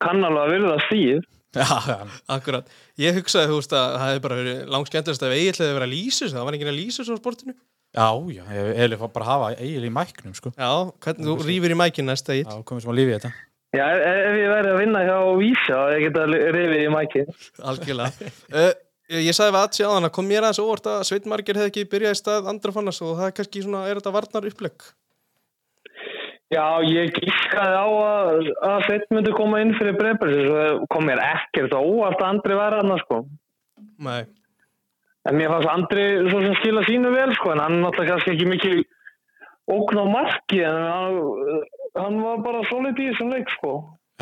Speaker 3: kann alveg að virða stíð.
Speaker 1: Já, já,
Speaker 2: Akkurat. Ég hugsaði, þú veist, að það hefði bara verið langskendast ef Egil hefði verið að lýsa þessu, það var enginn að lýsa þessu á sportinu.
Speaker 1: já, já, ég vil bara hafa Egil í mæknum, sko
Speaker 2: Já, hvernig, þú rýfir í mækin næsta, Egil.
Speaker 1: Já, komið sem að lífi í þetta
Speaker 3: Já, ef ef ég væri að vinna hjá Vísa, þá hefði ég geta rifið í mækið.
Speaker 2: Algjörlega. uh, ég sagði við aðtjáðan að hana, kom mér aðeins óvart að Sveit Marger hefði ekki byrjað í stað andra fannast og það er kannski svona, er þetta varnar upplegg?
Speaker 3: Já, ég gískaði á að, að Sveit myndi koma inn fyrir breyfbærsins og það kom mér ekkert á óvart að Andri var hann, sko.
Speaker 2: Nei.
Speaker 3: En mér fannst Andri svo sem skila sínu vel, sko, en hann náttúrulega kannski ekki mikil ógn á marki, en hann, hann var bara solid í þessum leik, sko.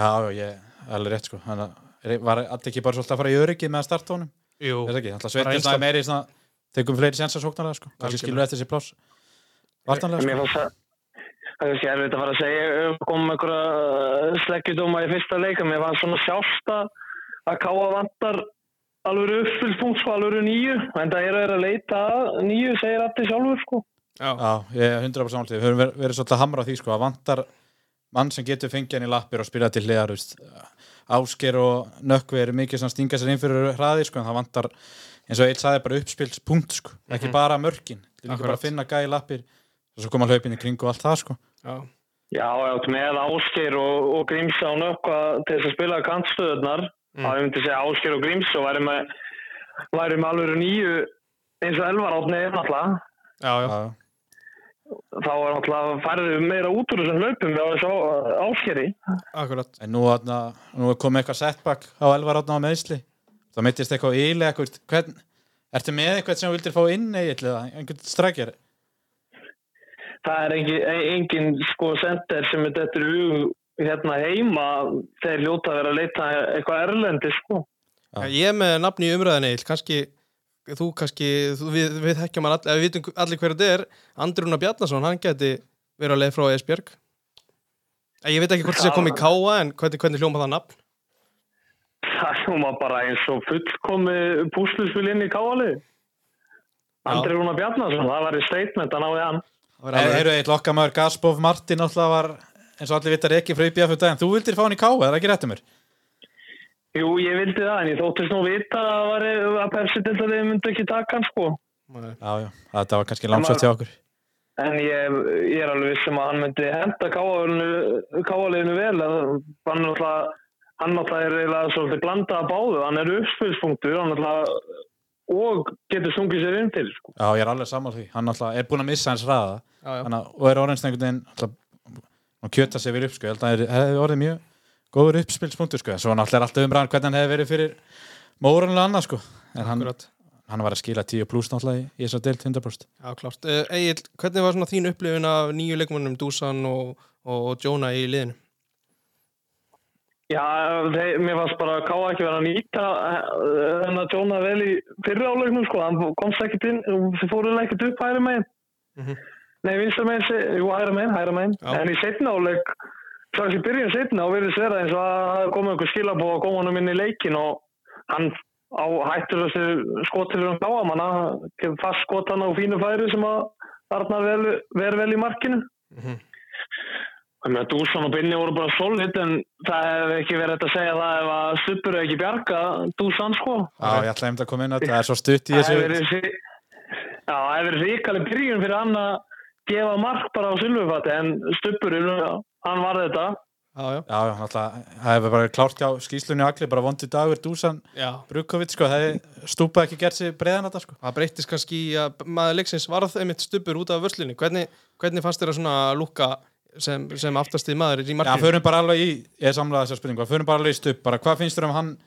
Speaker 1: Já, já, ég, alveg rétt sko Þannig að er- var alltaf ekki bara svolítið að fara í öryggið með að starta honum
Speaker 2: Jú.
Speaker 1: Er það ekki? Alltaf
Speaker 2: Bara
Speaker 1: sveitir
Speaker 2: einstakt.
Speaker 1: svona meiri í svona Tegum fleiri sénsar sóknarlega sko Kanski
Speaker 2: Algjörlega.
Speaker 1: skilur eftir sér pláss Vartanlega
Speaker 3: En
Speaker 1: sko
Speaker 3: mér fannst það... Það er kannski erfitt að fara að segja um einhverja sleggjudóma í fyrsta leika. Mér fannst svona sjálft að að káa vantar alveg uppfyllspunkt sko, alveg nýju. En það eru þeir að leita að nýju, segir allir sjálfur sko.
Speaker 2: Já.
Speaker 1: Já, ég er 100% samlega Við höfum ver- verið svolítið að hamra á því sko að vantar mann sem getur fengið hann í lappir og spila til hliðar þú veist. Ásker og Nökkvi eru mikið sem stinga sér inn fyrir hraði sko en það vantar eins og eitt sagði bara uppspilspunkt sko ekki bara mörkin Þetta er líka bara
Speaker 2: Mhm. Akkurat.
Speaker 1: að finna gæði lappir og svo koma hlaupin í kring og allt það sko
Speaker 2: Já.
Speaker 3: Já, já, með Ásgeir og, og Grímsa og nökkva til þess að spila kantstöðunar.
Speaker 2: Mm.
Speaker 3: Mm. Það myndi segja Ásgeir og Grímsa og væri með, væri með alveg nýju eins og elvar átni er náttúrulega.
Speaker 2: Já, já.
Speaker 1: Já, já.
Speaker 3: Þá er náttúrulega færðu meira út úr þessum hlaupum með þessu Ásgeiri.
Speaker 2: Akkurat.
Speaker 1: En nú, atna, nú er komið eitthvað setback á Elvar Átna á meðsli. Það mittist eitthvað ílega eitthvað. Hvern, ertu með eitthvað sem þú vildir fá inn eiginlega? Einhvern strækjar?
Speaker 3: það er engin, engin sko sender sem er dettur í hug hérna heima þeir hljóta að vera að leita eitthvað erlendi sko.
Speaker 1: Já.
Speaker 2: Ég er með nafni í umræðan, Egil, kannski, þú kannski, þú, við, við þekkjum hann allir, við vitum allir hverju þetta er, Andrúna Bjarnason, hann geti verið að leið frá Esbjörg. Eh, Ég veit ekki hvort það sé að koma í káa, en hvernig, hvernig hljóma það nafn?
Speaker 3: Það hljóma bara eins og fullkomi púsluspil inn í káali. Andri Rúnar Bjarnason, það var í statement að náði hann.
Speaker 2: Það væri
Speaker 1: Nei,
Speaker 2: alveg-
Speaker 1: eru eitthvað okkar maður Gaspov Martin alltaf var eins og allir vitar ekki frá IPF um daginn. Þú vildir fá hann í K.A. það er ekki um réttum mér.
Speaker 3: Jú, ég vildi það, en ég þóttist nú vita að, það væri, að Pepsi delta þið myndi ekki taka hann sko.
Speaker 2: Nei.
Speaker 1: Já, já. Þetta var kannski langsótt hjá okkur.
Speaker 3: En ég, ég er alveg vissum að hann myndi henda káaliðinu vel. að Hann náttúrulega, hann náttúrulega er eiginlega svolítið blandað að báðu. Hann er uppspilspunktur hann náttúrulega, og getur sungið sér inn til. Sko.
Speaker 1: Já, ég er alveg sammála því. Hann alltaf er búin að missa hans hraða.
Speaker 2: Já, já.
Speaker 1: Þannig, að- og er orðins einhvern veginn alltaf, og kjöta sér við upp sko. Ég held að það hefði orðið mjög góður uppspilspunktur sko. En Svo náttúrulega er alltaf umræðan hvernig hann hefði verið fyrir móranlega annað sko. En hann,
Speaker 2: Akkurat.
Speaker 1: hann var að skila 10 pluss náttúrulega í- í þess að deilt 100%
Speaker 2: Já, klart. Uh, Egil, hvernig var svona þín upplifin af nýju leikmannum Dusan og, og, og Jonah í liðinu?
Speaker 3: Já, þeir, mér fannst bara að Káa ekki vera að nýta eh, þennan tjóna vel í fyrri áleiknum sko, hann komst ekkert inn þeir fóruð ekkert upp hægri megin
Speaker 2: Mhm.
Speaker 3: nei, vinstra megin, se- jú, hægri megin, hægri megin
Speaker 2: Já.
Speaker 3: en í setna áleik strax í byrjun setna og verið sverða eins og að það komið einhver skilabóð og kom honum inn í leikin og hann á hættur þessu skotilur um Káa manna, fast skot hann á fínu færi sem að Arnar vel, ver vel í markinu
Speaker 2: Mhm.
Speaker 3: Ég meina, Dússon og Binni voru bara solid en það hefði ekki verið hægt að segja það ef að Stubbur hefði ekki bjarga Dússon sko.
Speaker 1: Já, ég ætla einmitt að koma inn á þetta, það er svo stutt í
Speaker 3: Það
Speaker 1: þessu
Speaker 3: hefði verið sí- Já, það hefði verið ríkali byrjun fyrir hann að gefa mark bara á Silvufati en Stubbur, hann var þetta.
Speaker 2: já, já,
Speaker 1: Já, já, náttúrulega, það hefur bara klárt hjá skýslunni allir, bara vondi dagur, dúsan,
Speaker 2: já.
Speaker 1: Brukovic, sko, það hefði stúpað ekki gert sér breiðan þetta, sko.
Speaker 2: Það breyttist kannski í að maður leiksins varð einmitt stubbur út af vörslinni. Hvernig, hvernig fannst þér að svona lúka sem, sem aftastið maður í
Speaker 1: Já,
Speaker 2: markinu?
Speaker 1: förum bara alveg í, ég er samlega þessar spurningu, förum bara alveg í stupp, bara hvað finnst þér um hann,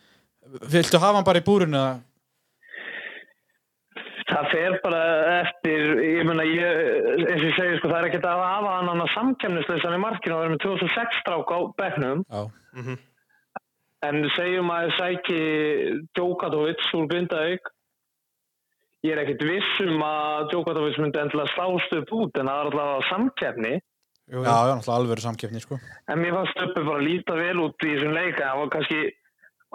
Speaker 1: viltu hafa hann bara í búrinu eða?
Speaker 3: Það fer bara eftir, ég meina, ég, eins og ég segi sko, það er ekkert að hafa hann hann að samkemnisleysan í markinu og verið með 2006 strák á bekknum.
Speaker 1: Já.
Speaker 3: En segjum að sæki Djokadovic úr Grindavík. Ég er ekkert viss um að Djokadovic myndi endilega slást upp út en það er allavega samkefni.
Speaker 2: Jú,
Speaker 1: Já,
Speaker 2: jú.
Speaker 1: já, náttúrulega alvöru samkeppni, sko.
Speaker 3: En mér fannst uppi bara að líta vel út í þessum leika. Það var kannski,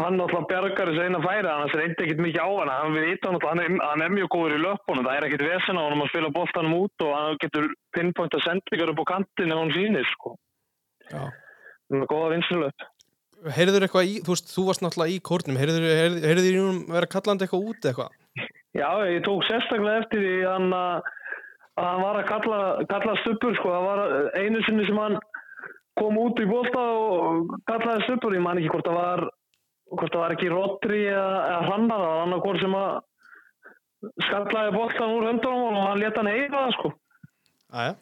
Speaker 3: hann náttúrulega bjargar þessu eina færi, annars reyndi ekkert mikið á hana. Hann við ítum náttúrulega, hann er, hann er mjög góður í löpunum. Það er ekkert vesen á honum að spila boltanum út og hann getur pinpoint að sendingar upp á kantinn ef hann sýnir, sko.
Speaker 2: Já.
Speaker 3: Hann er með góða vinsulöp.
Speaker 2: Heyrður eitthvað í, þú veist, þú varst náttúrulega í kórnum, heyrður þér í húnum vera kallandi eitthvað út eitthvað?
Speaker 3: Já, ég tók sérstaklega eftir því hann að að hann var að kalla, kalla stubbur sko, það var einu sinni sem hann kom út í bólta og kallaði stubbur, ég man ekki hvort það var hvort það var ekki Rodri eða, eða Hrannar, það var hann hvort sem að skallaði bóltan úr höndunum á honum og hann leta hann eiga það sko
Speaker 2: Æja,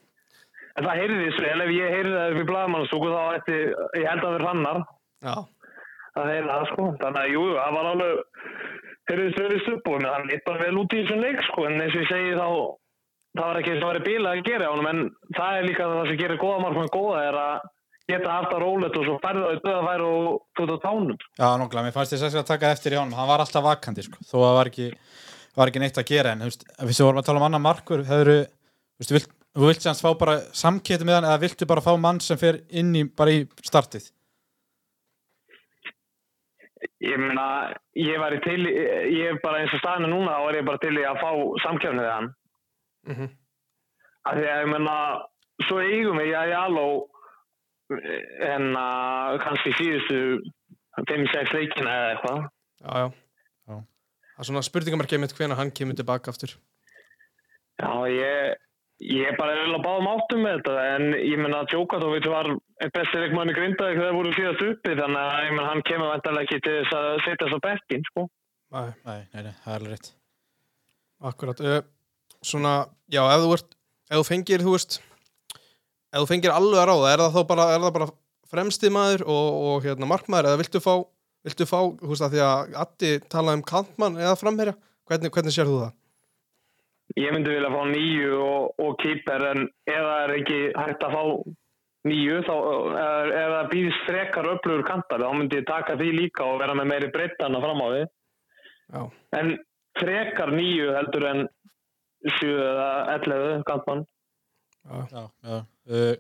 Speaker 3: en það heyrði þessu, en ef ég heyrði það við blagamannstúku þá ætti, ég held að við Hrannar
Speaker 2: já,
Speaker 3: það heyrði það sko, þannig að jú, það var alveg heyrði þessu verið stubbur, en hann leta bara vel út í þessum leik sko, en eins og ég segi þá það var ekki eins og verið bíla að gera á honum en það er líka það sem gerir góða markmann góða er að geta haft að rólegt og svo færða þau döða færa og þú ert á tánum
Speaker 1: Já, náttúrulega, mér fannst ég sérstaklega að taka eftir í honum, hann var alltaf vakandi, sko, þó að það var ekki, var ekki neitt að gera, en, þú veist, ef við vorum að tala um annan markur, hefur, þú veist, vilt, þú vilt sem fá bara samketti með hann, eða viltu bara fá mann sem fer inn í, bara í startið?
Speaker 3: ég meina, ég var í til ég er bara eins og staðinu núna þá er ég bara til í að fá samkjöfnið við hann
Speaker 2: Mhm.
Speaker 3: af því að ég meina svo eigum við Jæja Aló en að kannski síðustu 5-6 leikina eða eitthvað
Speaker 2: já, já.
Speaker 1: Já.
Speaker 2: Það er svona spurningamarkið mitt hvena hann kemur tilbaka aftur.
Speaker 3: Já, ég, ég er bara eiginlega báðum áttum með þetta en ég menna að Djokadovic var einn besti leikmann í Grindavík þegar þeir voru síðast uppi þannig að ég menna hann kemur vantarlega ekki til þess að setja þess á bekkin sko.
Speaker 2: Æja,
Speaker 1: Nei, nei, nei, það er alveg rétt.
Speaker 2: akkurat. Ö, svona, já, ef þú ert, ef þú fengir, þú veist, ef þú fengir alveg að ráða, er það þá bara, er það bara fremsti maður og, og hérna markmaður, eða viltu fá, viltu fá, þú veist, að því að Addi talaði um kantmann eða framherja, hvernig, hvernig sér þú það?
Speaker 3: Ég myndi vilja fá nýju og, og kýper en ef það er ekki hægt að fá nýju þá, ef ef það býðist frekar öflugur kantar þá myndi ég taka því líka og vera með meiri breytana fram á því
Speaker 2: Já,
Speaker 3: en frekar nýju heldur en 7 eða 11 kantmann
Speaker 2: já,
Speaker 1: Já, já. Uh,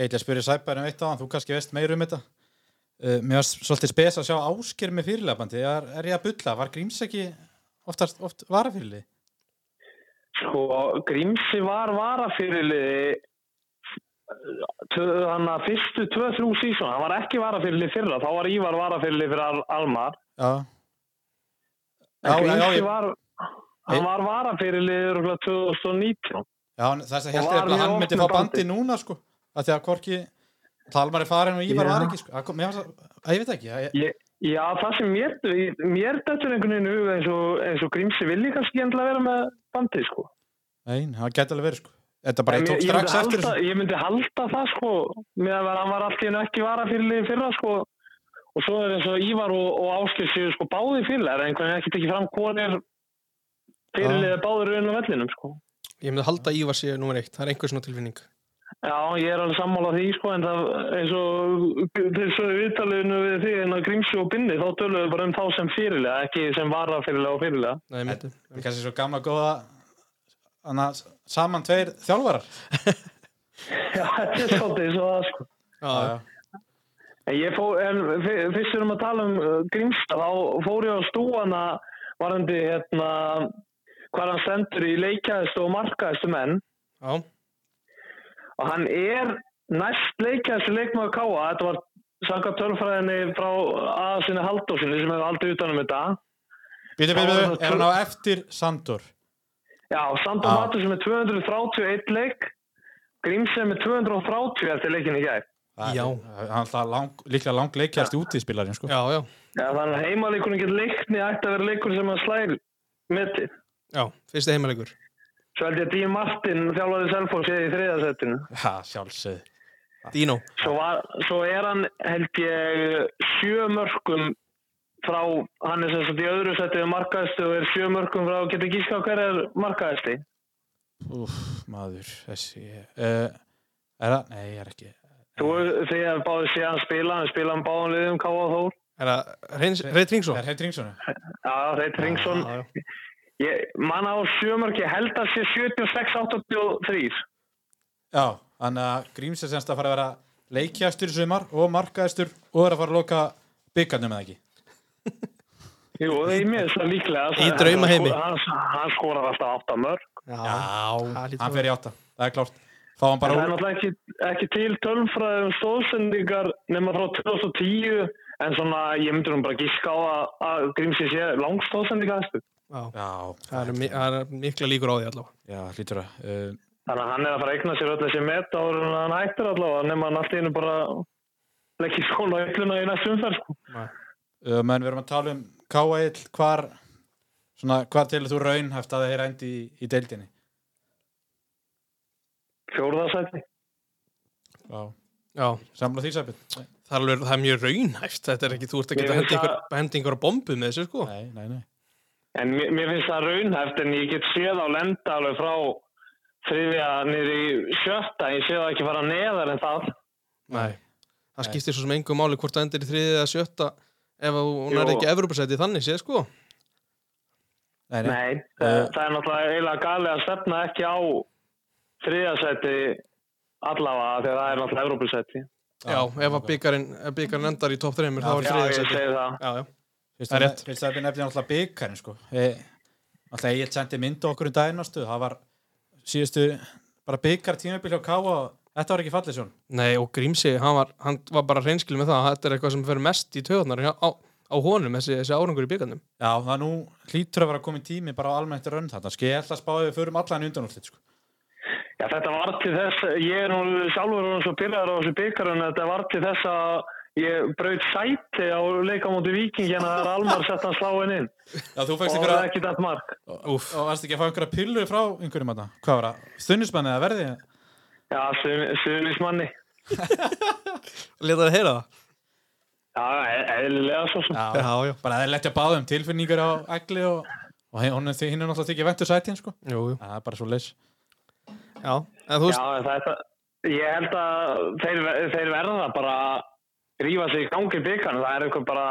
Speaker 1: ég ætla að spyrja Sæbæri um eitt á hann, þú kannski veist meir um þetta. Uh, mér varst svolítið spes að sjá ásker með fyrirlefandi, er, er ég að bulla, var Gríms ekki oftast, oft varafyrirlið?
Speaker 3: Sko, Grímsi var varafyrirliði tvö- hann að fyrstu 2-3 sísón, hann var ekki varafyrirliði fyrra, þá var Ívar varafyrirliði fyrir Al Almar.
Speaker 1: Já.
Speaker 3: En
Speaker 1: Já, já,
Speaker 3: Grímsi
Speaker 1: já, ég,
Speaker 3: var, hann var varafyrirliði örugglega 2019.
Speaker 1: já, hann- þess að held
Speaker 3: Og
Speaker 1: ég
Speaker 3: var
Speaker 1: nefnilega að
Speaker 3: mjög
Speaker 1: hann
Speaker 3: oft
Speaker 1: myndi
Speaker 3: með
Speaker 1: fá
Speaker 3: bandi.
Speaker 1: bandi núna, sko, að því að Korki, Talmar er farin og Ívar
Speaker 3: Já.
Speaker 1: var ekki, sko, að, mér varst að, að ég veit ekki, að, ég-
Speaker 3: Ég, já, það sem mér, mér dættur einhvern veginn hug eins og, eins og Grímsi vilji kannski endilega vera með bandið, sko.
Speaker 1: nein, það gæti alveg verið, sko. Þetta bara,
Speaker 3: En
Speaker 1: ég tók
Speaker 3: ég, ég, myndi
Speaker 1: strax eftir
Speaker 3: halda,
Speaker 1: þessu.
Speaker 3: ég myndi halda það, sko, með að hann var allt í hennu ekki varafyrirliði fyrra, sko. Og svo er eins og Ívar og, og Áskil séu sko báði fyrirlega, en einhvern veginn ekki tekið fram hvað er fyrirlega báður raun og vellinum, sko.
Speaker 2: ég myndi halda að Ívar sé nummer eitt, það er einhver svona tilfinning.
Speaker 3: Já, ég er alveg sammála því, sko, en það eins og þeir sögðu í viðtaliðinu við því en að Grímsjó og Binni, þá töluðu við bara um þá sem fyrirlega, ekki sem vara fyrirlega og fyrirlega.
Speaker 2: Nei, mitt.
Speaker 1: Það er kannski svo gamla góða anna, saman tveir þjálfarar
Speaker 3: Já, þetta er svolítið eins og það, sko.
Speaker 2: Já,
Speaker 3: En ég fór, en fyr- fyrst við erum að tala um uh, Grímsjó, þá fór ég á stúana varandi, hérna, hvað hann stendur í leikjæðistu og markaðistu menn
Speaker 2: já,
Speaker 3: og hann er næst leikjæðistu leikmaður Káa, þetta var sanga tölfræðinni frá aðasinni Haldósinni sem hefur aldrei utanum þetta.
Speaker 1: Býtu, býtu, býtu, er hann á eftir Sandur
Speaker 3: Já, Sandor
Speaker 1: Já.
Speaker 3: Matur sem er 231 leik Grímsen með 230 eftir leikin í gær
Speaker 1: Það er-
Speaker 2: Já.
Speaker 1: Hann er alltaf lang, líklega lang leikjast útispilarinn sko.
Speaker 2: já, já,
Speaker 3: Já, þannig að heimaleikurinn getur leikni ætti að vera leikur sem að slæl mitti
Speaker 2: já, fyrsti heimalegur.
Speaker 3: Svo held ég að Dín Martin þjálfarið Selfoss séð í þriðasettinu
Speaker 1: Já, sjálfsögð
Speaker 2: Dino.
Speaker 3: svo, var- svo er hann held ég sjö mörgum frá, hann er sem sagt í öðru settið markaðistu og er sjö mörgum frá getur gíska hver er markaðisti
Speaker 1: Úf, maður, þessi uh, Er það? Nei, ég er ekki
Speaker 3: Þú þegar báðið sé hann spila hann spila hann báðum liðum K.A. Þór
Speaker 2: Er það Reit Ringsson?
Speaker 1: Er Heit Ringsson?
Speaker 3: Já, Reit Ringsson
Speaker 2: Já, já.
Speaker 3: Ég man á sjömörk, ég held að sé 76-83.
Speaker 1: Já, þannig að Gríms er semst að fara að vera leikjastur í sumar og markaðistur og er að fara að loka byggarnum eða ekki
Speaker 3: Jú, það er mér þess að líklega.
Speaker 2: Í draumaheimi.
Speaker 3: Hann, hann skorar alltaf átta mörg.
Speaker 2: Já,
Speaker 1: Hann fer í átta, það er klárt Fá hann
Speaker 3: Það
Speaker 1: bara
Speaker 3: er
Speaker 1: úr
Speaker 3: náttúrulega ekki, ekki til tölmfræðum stóðsendingar nema frá 2010, en svona ég myndur hún bara gíska á að, að Grímsi sé langstóðsendingar þessu.
Speaker 2: Já,
Speaker 1: Já,
Speaker 2: það eru mi- það eru mikla líkur á því allavega.
Speaker 1: já, hlýtur að uh,
Speaker 3: Þannig að hann er að fara að eigna sér öll þessi met áður en hann hættir allavega, nema hann allt í hennu bara leggir skóla ölluna í næstum umferð, sko.
Speaker 1: uh, menn við erum að tala um K.A.L. hvar svona, hvar til þú raun hefst að þeir endi í, í deildinni
Speaker 3: Fjórðarsætti.
Speaker 1: Já,
Speaker 2: Já,
Speaker 1: samla því sæpil Nei,
Speaker 2: það er, alveg, það er mjög raunhæft. Þetta er ekki, þú ert ekki
Speaker 3: Ég
Speaker 2: að
Speaker 3: finnst
Speaker 2: henda ykkur,
Speaker 3: það-
Speaker 2: henda ykkur að bombu með þessu, sko.
Speaker 1: nei, nei
Speaker 3: En mér, mér finnst það raunhæft en ég get séð á lenda alveg frá þriðja niður í sjötta. Ég sé það ekki fara neðar en það.
Speaker 2: Nei. Það
Speaker 1: Nei.
Speaker 2: skiptir svo sem engum máli hvort það endir í þriðið eða sjötta ef að hún
Speaker 3: Jú.
Speaker 2: er ekki Evrópasæti þannig séð, sko.
Speaker 1: Nei, nei,
Speaker 3: Nei, það,
Speaker 1: Eh.
Speaker 3: það er náttúrulega eiginlega galið að stefna ekki á þriðjasæti allavega þegar það er náttúrulega Evrópusæti.
Speaker 1: Já,
Speaker 2: Já, ef að byggarinn, ef byggarinn endar í topp 3 þá er
Speaker 3: Já, ég
Speaker 2: þriðasæti.
Speaker 3: segi
Speaker 2: Já,
Speaker 3: það.
Speaker 2: já.
Speaker 1: Fyrst
Speaker 2: Það er
Speaker 1: að-
Speaker 2: rétt.
Speaker 1: Fyrst að þetta nefnir alltaf byggarinn sko. Eh, Alltaf ég sendi myndu okkur um daginn ástu. Það var síðustu bara byggar tímabil hjá Káa. Þetta var ekki fallið svona.
Speaker 2: Nei, og Grímsi, hann var, hann var bara reynskil með það að þetta er eitthvað sem fer mest í töðunar á, á honum, þessi, þessi árangur í byggarnum.
Speaker 1: Já, það nú hlýtur að vera komin tími bara á almennt rönn þarna. Ski ég ætla að spáði við förum allan undan úr sko.
Speaker 3: Já, þetta var til þess, ég er nú sjálfur og svo byrjar á þessu byggar en þetta var til þess að ég braut sæti á leikamóti Viking hérna þegar Almar sett hann sláinn inn
Speaker 1: Já, þú
Speaker 3: og
Speaker 1: fækst
Speaker 3: það er
Speaker 1: ykkur
Speaker 3: ekki dætt mark.
Speaker 2: Úf,
Speaker 1: og varst ekki að fá einhverja pillu frá einhverjum þarna. Hvað var það? Þunnismenn eða verði?
Speaker 3: Já, stuðnismanni.
Speaker 2: leta það heyra það?
Speaker 3: Já, e- eðlilega svo sem.
Speaker 1: Já,
Speaker 2: Já, já.
Speaker 1: bara þeir lettja báðum tilfinningar á Egli og, og hinn er því- hinn er náttúrulega ekki ventur sætin sko.
Speaker 2: Jú, jú.
Speaker 1: Það er bara svo leys.
Speaker 2: Já, en þú veist,
Speaker 3: Já, en þetta, ég held að þeir, þeir verða bara að rífa sig í gangi byggarn. Það er eitthvað bara,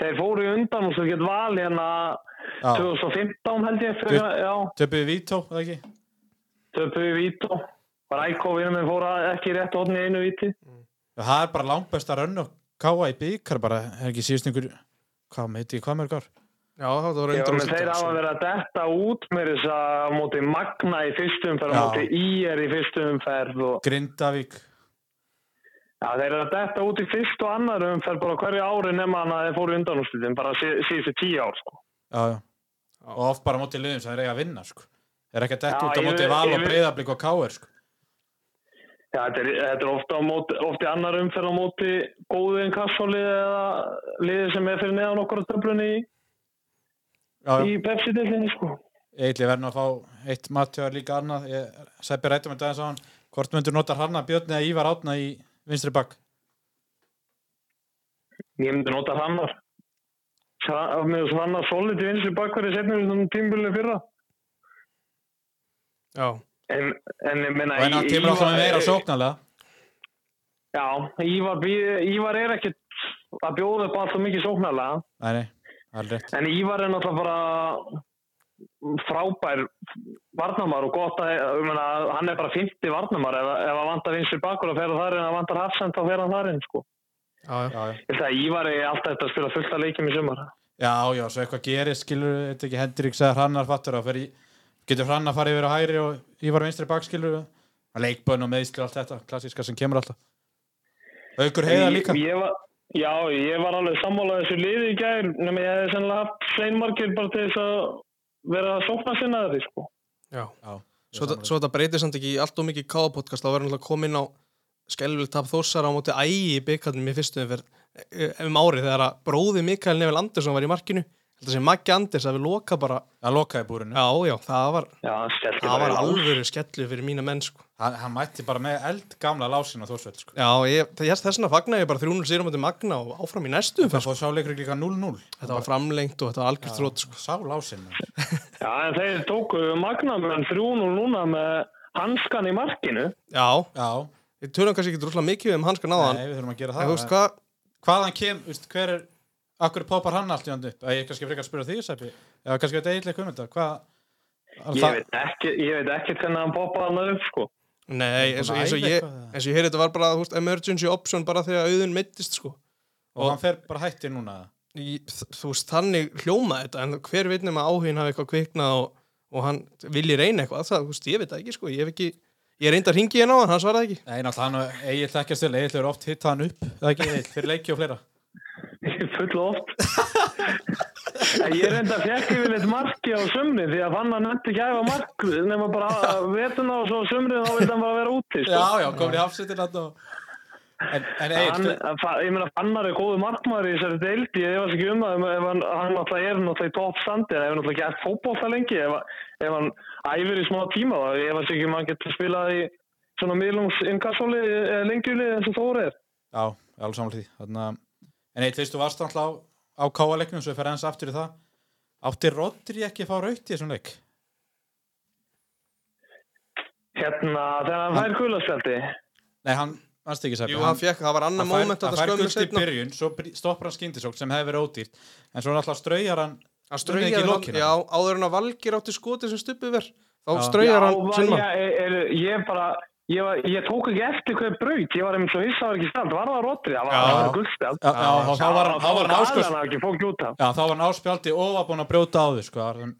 Speaker 3: þeir fóru í undan og svo get val hérna
Speaker 1: Já.
Speaker 3: 2015 held ég,
Speaker 1: Du-
Speaker 3: fyrir, já,
Speaker 1: Töpuðu Vító, eða ekki?
Speaker 3: töpu í vító. Rækó vinur minn fóra ekki í rétt hodni í einu víti.
Speaker 1: Það er bara langt best að rönn og káa í byggar bara, er ekki síðust einhver hvað með þetta, hvað mörg ár?
Speaker 2: já, það var sko.
Speaker 3: Ég
Speaker 2: undan
Speaker 3: var með þeir hafa verið að detta út með þess að móti Magna í fyrstu umferð
Speaker 1: Já.
Speaker 3: og móti IR í fyrstu umferð og
Speaker 1: Grindavík
Speaker 3: já, þeir eru að detta út í fyrstu og annar umferð bara hverju ári nema hann að þeir fóru í undanúrslitin bara sí, síðustu tíu ár sko.
Speaker 1: já, já. og oft bara mótið liðum sem þeir eiga að vinna sko. er ekki að detta
Speaker 3: Já,
Speaker 1: út á
Speaker 3: ég-
Speaker 1: mótið val og
Speaker 3: ég-
Speaker 1: breyðablík og káir sko.
Speaker 3: Já, þetta er, þetta er ofta, á móti, ofta í annar umferð á móti góðin kassóliði eða liði sem er fyrir neðan okkur á töflunni í,
Speaker 1: já,
Speaker 3: í
Speaker 1: já.
Speaker 3: Pepsi-delinni, sko.
Speaker 1: eitthvað verður nú að fá eitt matjóðar líka annað, ég um sæpi rættum en dagins á hann hvort myndur nota hann að björn eða Ívar Átna í vinstri bakk
Speaker 3: Ég myndi nota hrannar. Hra- Með þess hrannar solid í vinstri bakverði setnum við svona tímbilið fyrra.
Speaker 2: Já,
Speaker 3: En, en ég meina
Speaker 1: Og en hann
Speaker 3: Í-
Speaker 1: kemur alltaf
Speaker 3: Ívar-
Speaker 1: með meira sóknarlega.
Speaker 3: Já, Ívar, býð- Ívar er ekkert að bjóða upp alltaf mikið sóknarlega
Speaker 1: Nei, nei, það er rétt.
Speaker 3: En Ívar er náttúrulega bara frábær varnamar og gott að ég meina, hann er bara 50 varnamar ef, ef hann vantar vinsir bakur að færa þar en hann vantar hafsend þá færa hann þar inn sko.
Speaker 2: já, já.
Speaker 1: Já, já.
Speaker 3: Ég ætla að Ívar er alltaf eftir að spila fullt að leikjum í sumar
Speaker 1: Já, já, svo eitthvað gerist, skilur, þetta ekki Hendriks eða Hrannar fattur að fyrir, getur Hrannar farið yfir á hæri og Ívar vinstri bak, skilur, að leikbönn og meðskil allt þetta, klassíska sem kemur alltaf. Aukur heiða líka.
Speaker 3: Ég, ég var, já, ég var alveg sammálað þessu liði í gær nema ég hefði sennilega haft seinmarkir bara til þess að vera að sókna sinna þeirri sko.
Speaker 2: já.
Speaker 1: Já, ég
Speaker 2: Svo,
Speaker 1: sammála.
Speaker 2: þetta- svo þetta breytir samt ekki í allt og mikið káðapodcast þá verður náttúrulega komin á skelvileg tap þósar á móti ægi í byggarnum í fyrstu umferð eh, um árið þegar að bróði Mikael Nefell Andersson var í markinu held að sem Maggi Anders að við loka bara
Speaker 1: Hann lokaði búrinu.
Speaker 2: já já það var,
Speaker 3: Já, hann skellti
Speaker 2: það
Speaker 3: bara
Speaker 2: var
Speaker 3: í lás.
Speaker 2: alvöru skellu fyrir mína menn sko.
Speaker 1: Hann, hann mætti bara með eld gamla lásin á þósveld, sko.
Speaker 2: já ég, það- ég, þess vegna fagna ég bara 300 sigur á móti Magna og áfram í næstu
Speaker 1: Það
Speaker 2: umferð
Speaker 1: fóð sáleikur líka 0-0.
Speaker 2: þetta var framlengt og þetta var algjörð þrótt sko.
Speaker 1: Sá lásin.
Speaker 3: Já, en þeir tóku magnamenn 3-0 núna með hanskan í markinu.
Speaker 2: já
Speaker 1: Já,
Speaker 2: við tölum kannski ekki droslega mikið um hanskan
Speaker 1: nei,
Speaker 2: áðan
Speaker 1: við þurfum að gera
Speaker 2: en
Speaker 1: það.
Speaker 2: þú veist hvað
Speaker 1: Hvaðan kem, veist, hver er, akkur poppar hann allt í hann upp? Æ, Ég er kannski frekar að spyrja því, Sæpi. Já, kannski veit eiginlega kunnum þetta. Hvað?
Speaker 3: Ég veit ekki, ég veit ekki hvernig hann poppaði hann upp, sko.
Speaker 2: Nei, eins
Speaker 1: búin
Speaker 2: og,
Speaker 1: að
Speaker 2: eins og
Speaker 1: æfa
Speaker 2: ég,
Speaker 1: eitthvað, eða?
Speaker 2: eins og ég heyri þetta var bara þú veist, emergency option bara þegar auðun mittist sko.
Speaker 1: Og hann fer bara hætti núna.
Speaker 2: Í, þú veist, þannig hljóma þetta en hver veit nema áhugin hafi eitthvað kviknað og, og hann vilji reyna eitthvað það, þú veist, ég veit það ekki, sko, ég hef ekki ég reyndi að ringi hérna á hann, hann svaraði ekki
Speaker 1: Nei, náttúrulega hann og Egil þekkjast til, Egil hefur oft hittað hann upp, eða ekki Egil, fyrir leiki og fleira.
Speaker 3: Full oft. En ég reynda að fekk yfir litt marki á sumri því að fann hann nefndi ekki að æfa mark nema bara vetuna og svo á sumri þá vildi hann bara vera úti, sko.
Speaker 1: já, komin í afsettin hann og... En, en
Speaker 3: Hann,
Speaker 1: Egil,
Speaker 3: fa- ég meina, fannar er góðu markmaður í þessari deildi, ég veist ekki um það, ef hann, hann náttúrulega er náttúrulega í toppstandi, en ef hann náttúrulega ekki eftir fótbolta lengi, ef, ef hann æfir í smá tíma, þá ég veist ekki um hann getur spilað í svona miðlungsinkassóli lengjuli eins og Þóri er.
Speaker 1: já, ég er alveg samlega því. Þannig að, en Egil, veist þú varst alltaf á, á káaleiknum, svo ég fer eins aftur í það. Átti Rodri ekki að fá raut í þessum leik?
Speaker 3: Hérna, þegar hann fær gulasteldi.
Speaker 1: Nei, hann, hann stekir sæpi.
Speaker 2: Jú, hann fekk, það var annar
Speaker 1: hann fær,
Speaker 2: moment
Speaker 1: hann
Speaker 2: að
Speaker 1: fær
Speaker 2: skömmu
Speaker 1: gult í
Speaker 2: setna
Speaker 1: byrjun, svo bry- stoppar hann skyndisókn sem hefur verið ódýrt, en svo náttúrulega straujar hann
Speaker 2: hann
Speaker 1: Unni
Speaker 2: strauði
Speaker 1: ekki í
Speaker 2: hann,
Speaker 1: lokinu.
Speaker 2: já, áður en að valgir átti skoti sem stupið ver þá
Speaker 1: Já.
Speaker 2: strauði hann
Speaker 3: var
Speaker 2: sinna
Speaker 3: ég, er, er, ég bara, ég, var, ég tók ekki eftir hver braut, ég var einmitt svo hissað ekki stald, var það Rodri, það var,
Speaker 1: Já.
Speaker 3: það var gulsteld.
Speaker 1: Já, já, þá var hann- þá var hann áskurs-
Speaker 3: Það var ekki fók út af.
Speaker 1: Já, þá var hann áspjaldi og var búin að brjóta á því, sko. Þannig,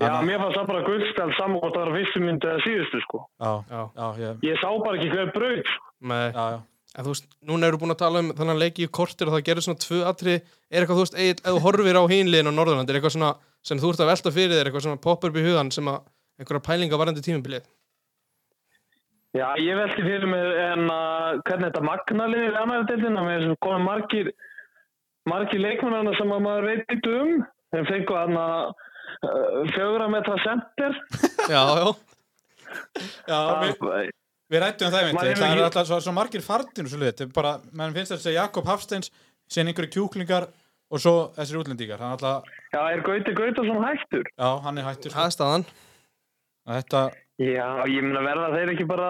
Speaker 3: Já,
Speaker 1: þannig-
Speaker 3: mér fannst það bara gullstæl saman hvort það var fyrstu myndu eða síðustu, sko.
Speaker 1: já,
Speaker 2: Já.
Speaker 1: já, ég,
Speaker 3: Ég sá bara ekki hver braut. sko.
Speaker 2: Nei.
Speaker 1: já, já.
Speaker 2: En þú veist, núna eru búin að tala um þannig að leiki í kortir og það gerir svona tvö atri er eitthvað, þú veist, eigi, ef þú horfir á hinliðin á Norðurland er eitthvað svona sem þú ert að velta fyrir þér eitthvað svona poppar upp í hugan sem að einhverja pælinga varandi tímubilið
Speaker 3: Já, ég velti fyrir mig en að hvernig þetta magnaliði við annar deildina með þessum komið margir, margir leikmennarna sem að maður veit ít um. Þeim fengu hann að fjögra metra sendir.
Speaker 2: Já, já,
Speaker 1: Já, við,
Speaker 3: Já,
Speaker 1: Við rættum það
Speaker 3: Maður
Speaker 1: einmitt,
Speaker 3: hefur
Speaker 1: það er
Speaker 3: ekki-
Speaker 1: alltaf svo, svo margir fartin og svo þetta er bara, mann finnst þess að Jakob Hafsteins síðan einhverju kjúklingar og svo þessir útlendingar, hann alltaf
Speaker 3: er Gauti Gautason hættur?
Speaker 1: já, hann er hættur
Speaker 2: það
Speaker 1: sko.
Speaker 2: er staðan
Speaker 1: Að þetta,
Speaker 3: Já, ég meina verða þeir ekki bara...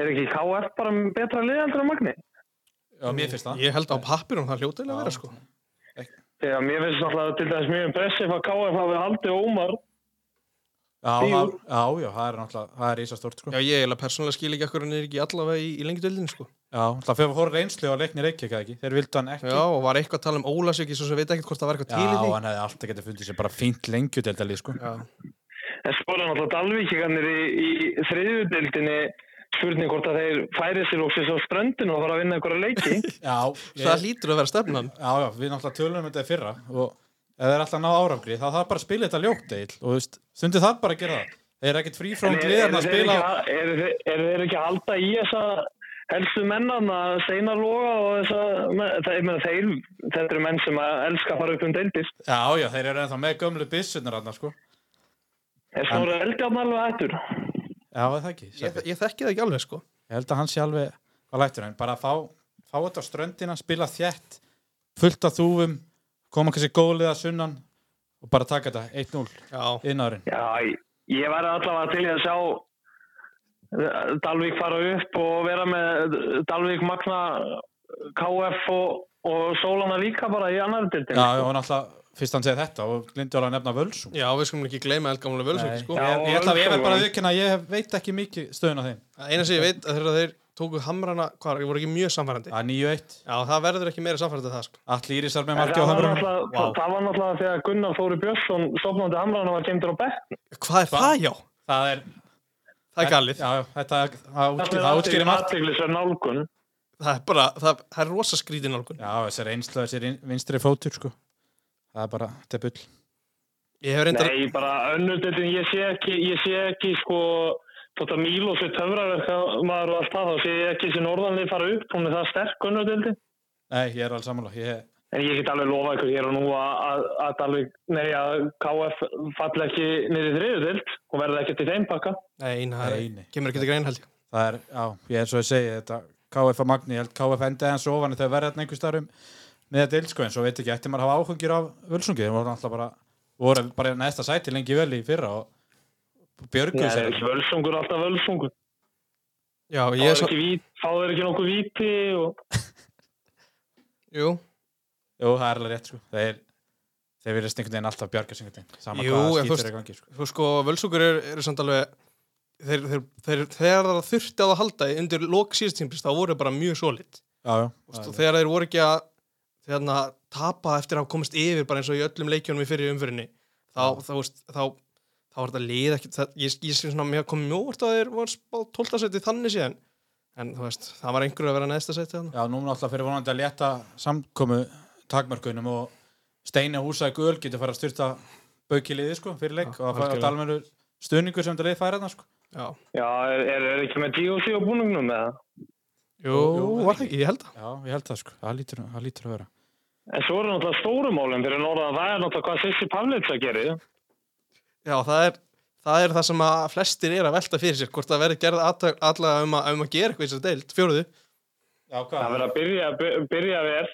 Speaker 3: Er ekki KF bara betra lið heldur en Magni?
Speaker 1: já, mér finnst það
Speaker 2: Ég held á pappirum það hljótilega að
Speaker 1: Já.
Speaker 2: vera sko
Speaker 3: Já, mér finnst alltaf til dæmis mjög impressif að KF hafi haldið Ómar
Speaker 1: já,
Speaker 3: Jú.
Speaker 1: hann, já, já, það er náttúrulega það er ísastórt sko,
Speaker 2: Já, ég eiginlega persónulega skil ekki akkur hann er ekki allavega í, í lengi dildin sko
Speaker 1: já, alltaf fyrir að hóra reynslu á leikni Reykjavík eða ekki, þeir vildu hann ekki
Speaker 2: Já, og var eitthvað að tala um Ólasjöki svo sem veit ekkert hvort það var eitthvað til í því
Speaker 1: hann hefði alltaf getið fundið sér bara fínt lengjudeldalið sko,
Speaker 2: Já,
Speaker 3: En svo er náttúrulega Dalvíkingarnir í, í þriðjudildinni spurning hvort að þeir færi sér og sér á ströndinu og fara að vinna einhverja leiki.
Speaker 1: já,
Speaker 2: það
Speaker 1: ég,
Speaker 2: hlýtur að vera stefnan
Speaker 1: já, já, við náttúrulega tölum þetta í fyrra og ef þeir alltaf ná árangri þá þarf bara að spila þetta ljótt eil og þú veist, stundu þarf bara að gera það Þeir eru ekkert frí frá
Speaker 3: En
Speaker 1: gleðan að
Speaker 3: þeir
Speaker 1: spila
Speaker 3: ekki að- eru þeir- eru þeir ekki að halda í þessa helstu mennan að steina loga og þessa, það, ég meina þeir, þetta eru menn sem að elska að fara upp um deildir.
Speaker 1: Já, já, þeir eru ennþá með gömlu byssunar hann, sko.
Speaker 3: En snóra eldjarn alveg hættur.
Speaker 1: Já, er það ekki.
Speaker 2: Ég,
Speaker 1: Ég,
Speaker 2: ég þekki það ekki alveg sko
Speaker 1: ég held að hann sé alveg að lættur hann. Bara að fá, fá þetta á ströndina, spila þjætt, fullt af þúfum, koma kannski gólið að sunnan og bara taka þetta 1-0
Speaker 2: Já,
Speaker 1: innarinn.
Speaker 3: Já, ég, ég væri allavega til í að sjá eh, Dalvík fara upp og vera með eh, Dalvík Magna KF og, og Sólana líka bara í annar dildin
Speaker 1: Já, já, og náttúrulega, fyrst hann segir þetta og glindi alveg að nefna Völsung
Speaker 2: Já, við skulum ekki gleyma eldgamlega völsóki, sko.
Speaker 1: Ég,
Speaker 3: Já,
Speaker 1: ég ætla að ég verð bara að
Speaker 3: Völsung.
Speaker 1: vikina að ég veit ekki mikið stöðun á þeim
Speaker 2: Eina sem ég veit að þegar þeir tóku hamrana, hvað, ég voru ekki mjög samfærandi.
Speaker 1: Það er 9-1,
Speaker 2: Já, það verður ekki meira samfærandi en það, sko.
Speaker 1: allir írisar með
Speaker 3: En
Speaker 1: marki
Speaker 3: það
Speaker 1: á
Speaker 3: var,
Speaker 1: hömrunum
Speaker 3: náttúrulega,
Speaker 1: Vá.
Speaker 3: það var náttúrulega þegar Gunnar Þóri Björnsson sopnandi hamrana var kemdur á bekk
Speaker 2: Hvað er
Speaker 1: Hva?
Speaker 2: það, já?
Speaker 1: Það er,
Speaker 2: Það er galið.
Speaker 1: Já, já, þetta það útskýr- það útskýrir margt
Speaker 3: aðteglisverð nálgun
Speaker 2: Það er bara, það, það er rosa skrítið nálgun.
Speaker 1: Já, þessi reynsla, þessi vinstri fótur sko Það er bara, þetta er bull
Speaker 2: Ég hef reyndar,
Speaker 3: Nei, bara önnudöldin, ég sé ekki, ég sé ekki sko, þótt að Mílos er töfrar maður og allt það, þá sé ég ekki sem norðanlið fara upp, hún er það sterk önnudöldin.
Speaker 1: Nei, ég er alveg sammála ég,
Speaker 3: En ég get alveg lofa ykkur hér og nú að, að, að, Dalvík- nei, að KF falla ekki niður í þriðudöld og verða ekki til þeim pakka.
Speaker 2: nei, það
Speaker 1: Nei, nei.
Speaker 2: er- kemur ekki til grein, held ég.
Speaker 1: Það er, já, ég er svo að segja þetta KF að Magni, ég held KF endaði hans ofan þegar verða þarna einhver starum með þetta ilskóin, svo veit ekki, ætti maður að hafa áhungir af völsungi, þeir voru alltaf bara voru bara í næsta sæti lengi vel í fyrra og björgu
Speaker 3: Það
Speaker 1: sér
Speaker 3: er völsungur, alltaf völsungur.
Speaker 2: Já,
Speaker 3: Fá
Speaker 2: ég
Speaker 3: þeir
Speaker 2: er svo,
Speaker 3: ekki, vít, fá þeir ekki nokkuð víti og...
Speaker 2: jú,
Speaker 1: Jú, það er alveg rétt sko Þeir, þeir verðist einhvern veginn alltaf bjarga sig einhvern veginn Saman
Speaker 2: Jú,
Speaker 1: hvað skýtur
Speaker 2: en þú veist-
Speaker 1: er í gangi sko.
Speaker 2: Svo sko, völsungur eru er samt alveg þeir, þeir, þeir, þegar það þurfti á það að halda í- undir lok síðustímpis þá voru þeir bara mjög solid
Speaker 1: Já, já,
Speaker 2: Vist, og
Speaker 1: alveg.
Speaker 2: þegar þeir voru ekki að þeirna, tapa eftir að hafa komist yfir bara eins og í öllum leikjónum í fyrir umfyrinni þá, þá, veist, þá, þá var þetta lið ekki, það, ég, ég sé svona mér komið mjög óvart að þeir voru spáð 12. seti þannig síðan en þú veist, það var einhverju að vera neðsta seti þannig
Speaker 1: já núna alltaf fyrir vonandi að létta samkomu takmörkunum og Steini húsaði gul getur fara að styrta baukiliði sko fyrir leik
Speaker 2: Já,
Speaker 1: og að fara
Speaker 2: algjörlega.
Speaker 1: dalmenur stuðningur sem þetta leið færa þarna sko
Speaker 2: Já,
Speaker 3: Já, er, er, er ekki með DOC á búningnum eða?
Speaker 2: jú,
Speaker 1: jú,
Speaker 2: var það ekki, ég held það
Speaker 1: Já, ég held það sko, það lítur, það lítur að vera
Speaker 3: En svo eru náttúrulega stórumálinn fyrir norðan, það er náttúrulega hvað Sissi Pavlitsa gerir.
Speaker 2: Já, það er Það er það sem að flestir er að velta fyrir sér hvort það verður gerð allavega um, að- um að gera eitthvað í þessar deild, fjóruðu
Speaker 1: Já,
Speaker 3: Það verður að byrja, by- byrja vel.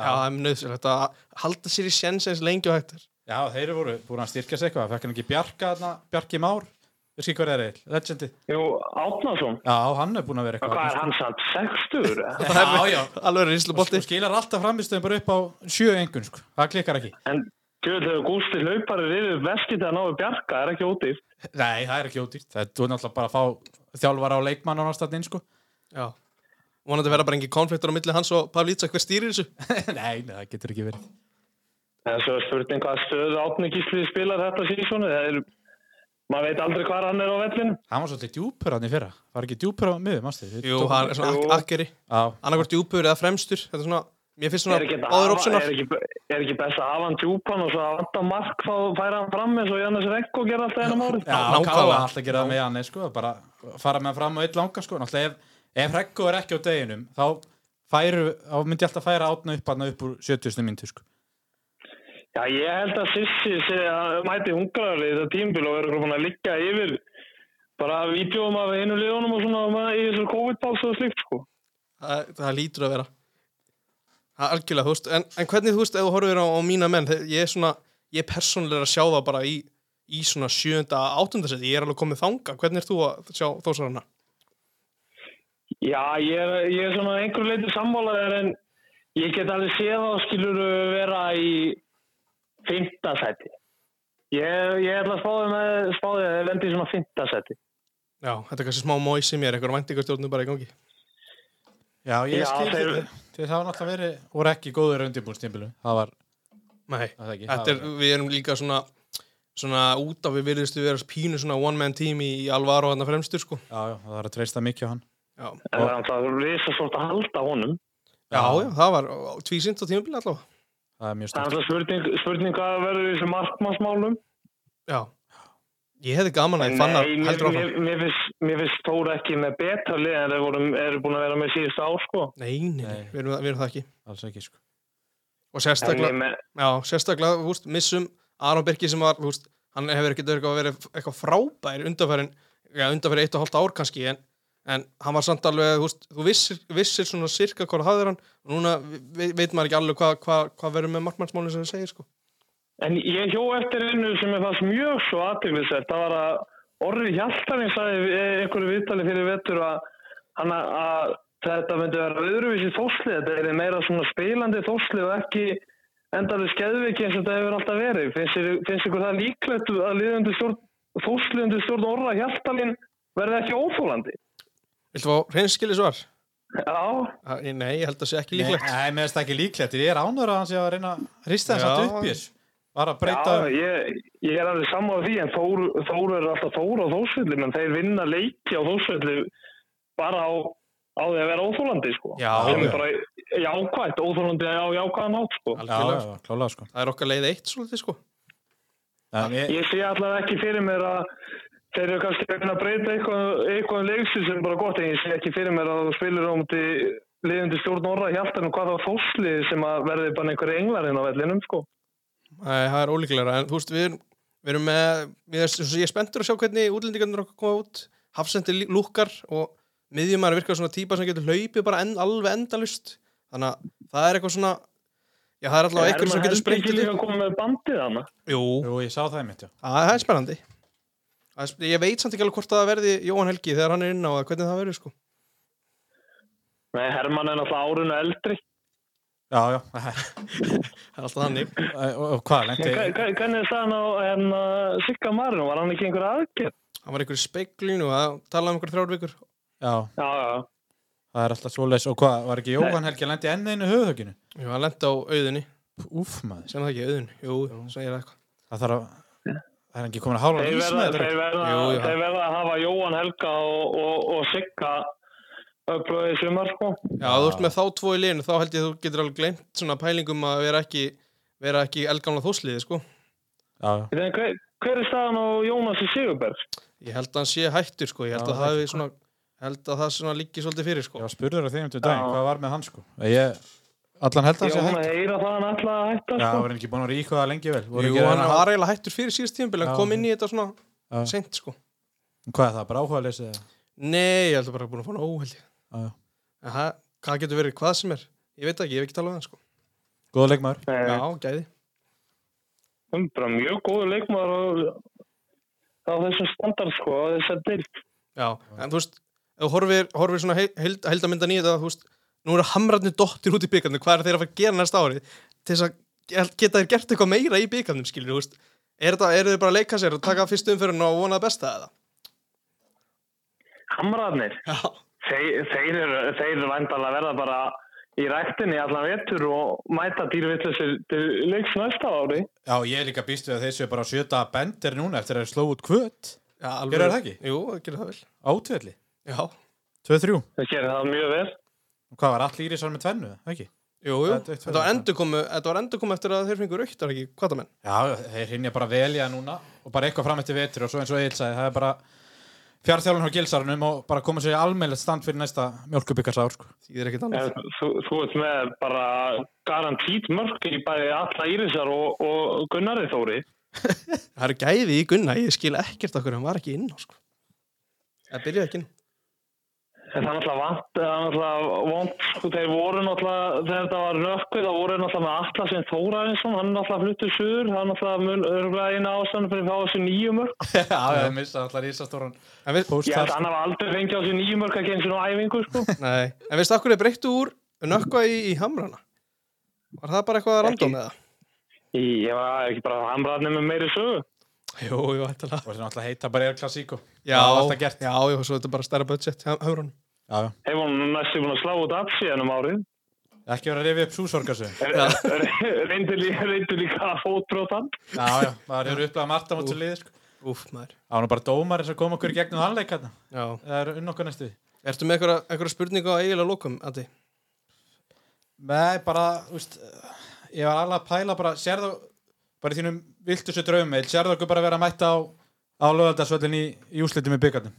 Speaker 2: Já, það er nöðsynlegt að halda sér í sjens eins lengi og hægt er.
Speaker 1: Já, þeir eru voru búin að styrkja sig eitthvað, fekk hann ekki Bjarka þarna, Bjarki Már, við skil hver er eil, legendi.
Speaker 3: Jú, Átnason.
Speaker 1: Já, hann er búin að vera eitthvað.
Speaker 3: Hvað er hann samt? 60? eða?
Speaker 1: Já, já,
Speaker 2: Alveg er íslubolti.
Speaker 1: og skilar alltaf framistöðum bara upp á sjö engun, sko, það klikkar ekki.
Speaker 3: En gjöðu þegar Gústi hlaupar er yfir veskið að náðu bjarga, það er ekki ódýrt.
Speaker 1: Nei, það er ekki ódýrt, það er þú er náttúrulega bara að fá þjálfara á leikmann á nástaðin, sko.
Speaker 2: Já. Vonandi verða bara engin konfliktur á milli hans og Pavlitsa hver stýrir þessu.
Speaker 1: nei, nei, það getur ekki verið.
Speaker 3: En svo er spurning hvað stöðu Átni Gísli spilar þetta sísónu. Það er, maður veit aldrei hvað hann er á vellinu.
Speaker 1: Hann var svolítið djúpur hann í fyrra, var ekki djúpur á miðum, ástu?
Speaker 2: Jú, hann er svona
Speaker 3: Jú.
Speaker 2: ak akkeri.
Speaker 1: Já,
Speaker 2: Annarkvort djúpur eða fremstur. Þetta er svona, mér finnst
Speaker 3: Er ekki,
Speaker 2: svona
Speaker 3: að
Speaker 2: áður
Speaker 3: hafa-
Speaker 2: opsunar.
Speaker 3: er, ekki, er ekki best að hafa hann djúpan og svo að vanda mark þá færa hann fram eins og Jannes Rekko gerði alltaf einum árið.
Speaker 1: Já,
Speaker 2: Ná-
Speaker 1: hann
Speaker 2: nákvæmlega.
Speaker 1: káði alltaf að gera það með hann nei, sko, bara fara með hann fram á eitt langa sko. Náttúrulega ef, ef Rekko er ekki á deginum þá, færu, þá myndi ég alltaf færa átna upp hann upp úr 70. myndu sko.
Speaker 3: Já, ég held að Sissi sé að mæti hungraður í þetta tímbil og verður búin að liggja yfir bara vídjóum af einu liðunum og svona með- í þessu COVID-páls og slíkt, sko.
Speaker 2: Það, það lítur að vera. Það er algjörlega, þú veist. En, en hvernig, þú veist, ef þú horfir á, á mína menn, þe- ég er svona, ég er persónulega að sjá það bara í, í svona sjönda, áttunda seti. Ég er alveg komið þanga. Hvernig er þú að sjá þósarana?
Speaker 3: Já, ég er, ég er svona að einhverju leiti sammálaður en ég get alveg séð á skilur vera í fymtasæti. Ég, ég ætla að spáði með spáði að það vendi í svona fymtasæti.
Speaker 2: Já, þetta er kannski smá móið sem ég er, eitthvað væntingastjórnum bara í gangi.
Speaker 1: Já, ég
Speaker 3: Já,
Speaker 1: skil
Speaker 3: þeir-
Speaker 1: þetta. Þeir hafa náttúrulega verið, voru ekki góður undirbúrstimbulu. Það var,
Speaker 2: Nei,
Speaker 1: það er ekki.
Speaker 2: Þetta er,
Speaker 1: það var,
Speaker 2: við erum líka svona svona út af við virðistu vera pínu svona one man team í, í Alvaro hann fremstur sko
Speaker 1: já, já, það var að treysta mikið á hann.
Speaker 2: já.
Speaker 3: En það er alltaf risa að halda honum.
Speaker 2: já, já, það var tvísint á tímabili allavega
Speaker 1: Það er mjög
Speaker 3: Það er
Speaker 1: stort.
Speaker 3: alltaf spurning, spurning hvað verður í þessu markmannsmálum.
Speaker 2: Já, ég hefði gaman að ég fann að
Speaker 3: Nei, mér,
Speaker 2: heldur áfram
Speaker 3: mér, mér, finnst, mér finnst Þóra ekki með betra lið en þeir voru, eru búin að vera með síðust ár sko.
Speaker 2: Nei, nei, nei,
Speaker 1: Nei.
Speaker 2: við erum, það- við erum það ekki
Speaker 1: Alls ekki sko.
Speaker 2: og
Speaker 3: En ég
Speaker 2: sérstaklega,
Speaker 3: með,
Speaker 2: já, sérstaklega þú veist, missum Aron Birki sem var þú veist, hann hefur ekki eitthvað verið eitthvað frábær undanfærin, já, undanfærin eitt og hálft ár kannski en, en hann var samt alveg þú, veist, þú vissir, vissir svona sirka hvað hafðir hann og núna ve- veit maður ekki alveg hvað hva, hva verður með markmannsmálinn sem það segir sko
Speaker 3: En ég hjó eftir einu sem ég fannst mjög svo aðteglisvert. Það var að Orri Hjaltarinn sagði í einhverju viðtali fyrir vettur að, hann að, að þetta myndi vera öðruvísi þóslið. Þetta er meira svona spilandi þóslið og ekki endalega skeðviki eins og þetta hefur alltaf verið. Finnst ykkur- Finnst ykkur það líklegt að liðundu stjórn, þósliðundu stjórn Orra Hjaltarinn verði ekki óþólandi?
Speaker 2: Viltu fá hreinskili svar?
Speaker 3: Já,
Speaker 2: Ha, ég- Nei, ég held að sé ekki
Speaker 1: Nei,
Speaker 2: líklegt
Speaker 1: nei, mér finnst það ekki líklegt. Ég er ánur að hann sé að reyna að hrista þess
Speaker 2: Já.
Speaker 1: að upp í þessu. Bara að breyta... um-
Speaker 3: Já, ég, ég er alveg saman á því en Þór, Þór er alltaf Þór á Þórsvöldi menn þeir vinna leiki á Þórsvöldi bara á, á því að vera óþólandi sko.
Speaker 1: Já,
Speaker 3: sem
Speaker 1: já.
Speaker 3: er bara jákvætt, óþólandi á jákvæðan átt sko.
Speaker 1: Já,
Speaker 2: Algjörlega.
Speaker 1: já, klálega sko.
Speaker 2: Það er okkar leið eitt svolítið sko
Speaker 1: En ég,
Speaker 3: Ég sé allavega ekki fyrir mér að þeir eru kannski að reyna að breyta eitthvað, eitthvað um leikstu sem er bara gott en ég sé ekki fyrir mér að þú spilir á múti liðandi stjórn orra hjaltan og hvað það Þórslið sem að verði bara einhverja englarinn á vellinum sko.
Speaker 2: Nei, það er ólíklegra En þú veist, við erum, við erum með við erum, Ég er spenntur að sjá hvernig útlendingarnir okkar koma út Hafsendi lí- lúkkar og miðjumar virkar svona típa sem getur hlaupið bara en, alveg endalust Þannig að það er eitthvað svona Já, það er alltaf eitthvað sem getur
Speaker 3: Er maður
Speaker 2: sprengt
Speaker 3: heldur ekki líka að koma með bandið hana?
Speaker 2: Jú,
Speaker 1: jú, ég sá það í mitt, já.
Speaker 2: það það er spennandi Það er sp- Ég veit samt ekki alveg hvort það verði Jóhann Helgi þegar hann er inn á það, hvernig það verður sko
Speaker 3: Nei, Hermann er náttúrulega árinu eldri.
Speaker 1: Já, já.
Speaker 2: Það er alltaf þannig
Speaker 1: og, og hvað, lendi...
Speaker 3: En hva- hva- Hvernig er staðan á hérna, Sigga Marino? Var hann ekki einhver aðgerð?
Speaker 2: Hann var einhver í speglinu og það talaði um einhver þrjár vikur
Speaker 1: Já,
Speaker 3: Já, já.
Speaker 1: það er alltaf svoleiðis. Og hvað, var ekki Jóhann Helgi að lendi enn einu höfðhöginu?
Speaker 2: Jú, hann lendi á auðinni,
Speaker 1: Úf, maður.
Speaker 2: sem það ekki auðin Jú, segir það eitthvað
Speaker 1: Það þarf að... Það er ekki komin að hálfa
Speaker 3: Þeir
Speaker 1: ís
Speaker 3: verða,
Speaker 1: með
Speaker 3: þeir,
Speaker 1: þetta.
Speaker 3: verða,
Speaker 2: Jú, já.
Speaker 3: þeir verða að hafa Jóhann Helga og, og, og Sigga upplöðið sumar, sko.
Speaker 2: Já, ef þú ert með þá tvo í liðinu, þá held ég að þú getur alveg gleymt svona pælingum að vera ekki, vera ekki eldgamla þósliði, sko.
Speaker 1: Já, já.
Speaker 3: Þegar, hver, hver er staðan á Jónasi Sigurberg?
Speaker 2: Ég held að hann sé hættur, sko. Ég held
Speaker 1: Já,
Speaker 2: að það hefði svona, held að það svona líki svolítið fyrir, sko.
Speaker 1: Ég var spurður á þeim til daginn,
Speaker 3: Já.
Speaker 1: hvað var með hann sko? Ég, allan held að hann
Speaker 3: Ég
Speaker 1: sé
Speaker 3: hún að
Speaker 1: hægt.
Speaker 3: heyra það hann alltaf að hætta,
Speaker 1: Já,
Speaker 3: sko.
Speaker 1: var hann ekki búin að vera íkvæða lengi vel? Voru
Speaker 2: Jú,
Speaker 1: ekki að
Speaker 2: hann
Speaker 1: reyna að-
Speaker 2: var eiginlega hættur fyrir síðast tíðanbíl,
Speaker 1: Já.
Speaker 2: hann kom inn í þetta svona
Speaker 1: Já.
Speaker 2: seint, sko.
Speaker 1: Hvað er það, bara áhuga leysið?
Speaker 2: Nei, ég held að bara búin að fá hann óheld ég. En það- hvað getur verið, hvað sem er? Ég veit það ekki, ég hef ekki talað um það, sko.
Speaker 1: Góða leikmaður.
Speaker 3: Já,
Speaker 2: Já, gæði.
Speaker 3: Hún Eh, er bara mjög góður leikmaður á, á þessum standard, sko, á þessar dyrt.
Speaker 2: Já, en þú veist, ef þú horfir, horfir svona heild, heildamindan í þetta, þú veist, nú eru hamrarnir dottir út í byggarnir, hvað er þeir að fara að gera næsta árið til þess að ge- geta þeir gert eitthvað meira í byggarnir, skilur, þú veist, er, þetta, er þeir bara að leika sér og taka fyrst umfyrirna og vona það besta eða?
Speaker 3: Hamrarnir.
Speaker 2: Já.
Speaker 3: þeir, þeir eru, þeir eru væntanlega að verða bara í rættinni allan vetur og mæta dýrvitlusir til leiks næsta ári.
Speaker 1: Já, ég er líka býst við að þeir séu bara á sjöta bendir núna eftir að þeir sló út kvöt
Speaker 2: Já, alveg.
Speaker 1: Gerir það ekki?
Speaker 2: Jú, það gerir það vel.
Speaker 1: átvelli.
Speaker 2: Já.
Speaker 1: 2-3.
Speaker 3: Það gerir það mjög vel.
Speaker 1: Og hvað var allir íris var með tvennu, ekki?
Speaker 2: Jú, jú.
Speaker 1: Þetta er eitt
Speaker 2: Þetta var endurkomu, þetta var endurkomu eftir að þeir fengur auktar ekki, hvað það menn?
Speaker 1: Já, þeir hinja bara að velja núna og bara eitthvað fram eftir vetur og svo eins og Egil sagði, það er bara fjárþjálun á gilsarunum og bara koma sér í almennilegt stand fyrir næsta mjölkubikarsár, sko.
Speaker 2: Því ekkert annað.
Speaker 3: En Þú, þú ert með bara garantít mörg í bæði alla Írisar og, og Gunnari Þóri.
Speaker 2: Það eru gæði í Gunna, ég skil ekkert okkur, hann var ekki inn á, sko. Það byrjaði ekki inn.
Speaker 3: En það er náttúrulega vant, það er náttúrulega vant, sko, þeir voru náttúrulega, þegar þetta var nökkvið, það voru náttúrulega með Atla sem Þóra einsson, hann er náttúrulega fluttur suður, það er náttúrulega mun örgulega eina ástæðan fyrir að fá þessu nýju mörg.
Speaker 1: Já, það missa allar ísastóran.
Speaker 2: En við,
Speaker 1: Póst
Speaker 3: Ég held að
Speaker 1: þar.
Speaker 3: hann hafa aldrei fengið á þessu nýju mörg að genið svona æfingu, sko.
Speaker 2: Nei, en veistu okkur þið breyttu úr nökkva í, í hamrana? Var það bara eitthvað random eða?
Speaker 3: Í- Ég var ekki bara hamraðnir með meiri sögu.
Speaker 2: Jú, jú, þetta
Speaker 1: Og þeir náttúrulega heita bara er klassíko.
Speaker 2: Já,
Speaker 1: Það var alltaf gert.
Speaker 2: já, já, svo þetta er bara stærra budget ha- hamranum.
Speaker 1: Já, já.
Speaker 3: Hefur hún næstu búin að slá út af síðanum árið.
Speaker 1: Ekki verið að rifja upp súsorgasöðum.
Speaker 3: Reyndu líka, reyndu líka að fótbróta.
Speaker 1: Já, já, maður eru upplegað Marta mútið liðið, sko.
Speaker 2: Úf, maður.
Speaker 1: Það var nú bara dómarinn sem kom okkur í gegnum þannleik hérna.
Speaker 2: Já.
Speaker 1: Það er unn okkur næstu því.
Speaker 2: Ertu með einhverja, einhverja spurningu á eiginlega lókum, Adi?
Speaker 1: Nei, bara, úst, ég var alveg að pæla bara, sérðu, bara í þínum viltustu draumil, sérðu okkur bara vera að mætta á, á lögaldasvöllin í, í úslitum í byggarnum.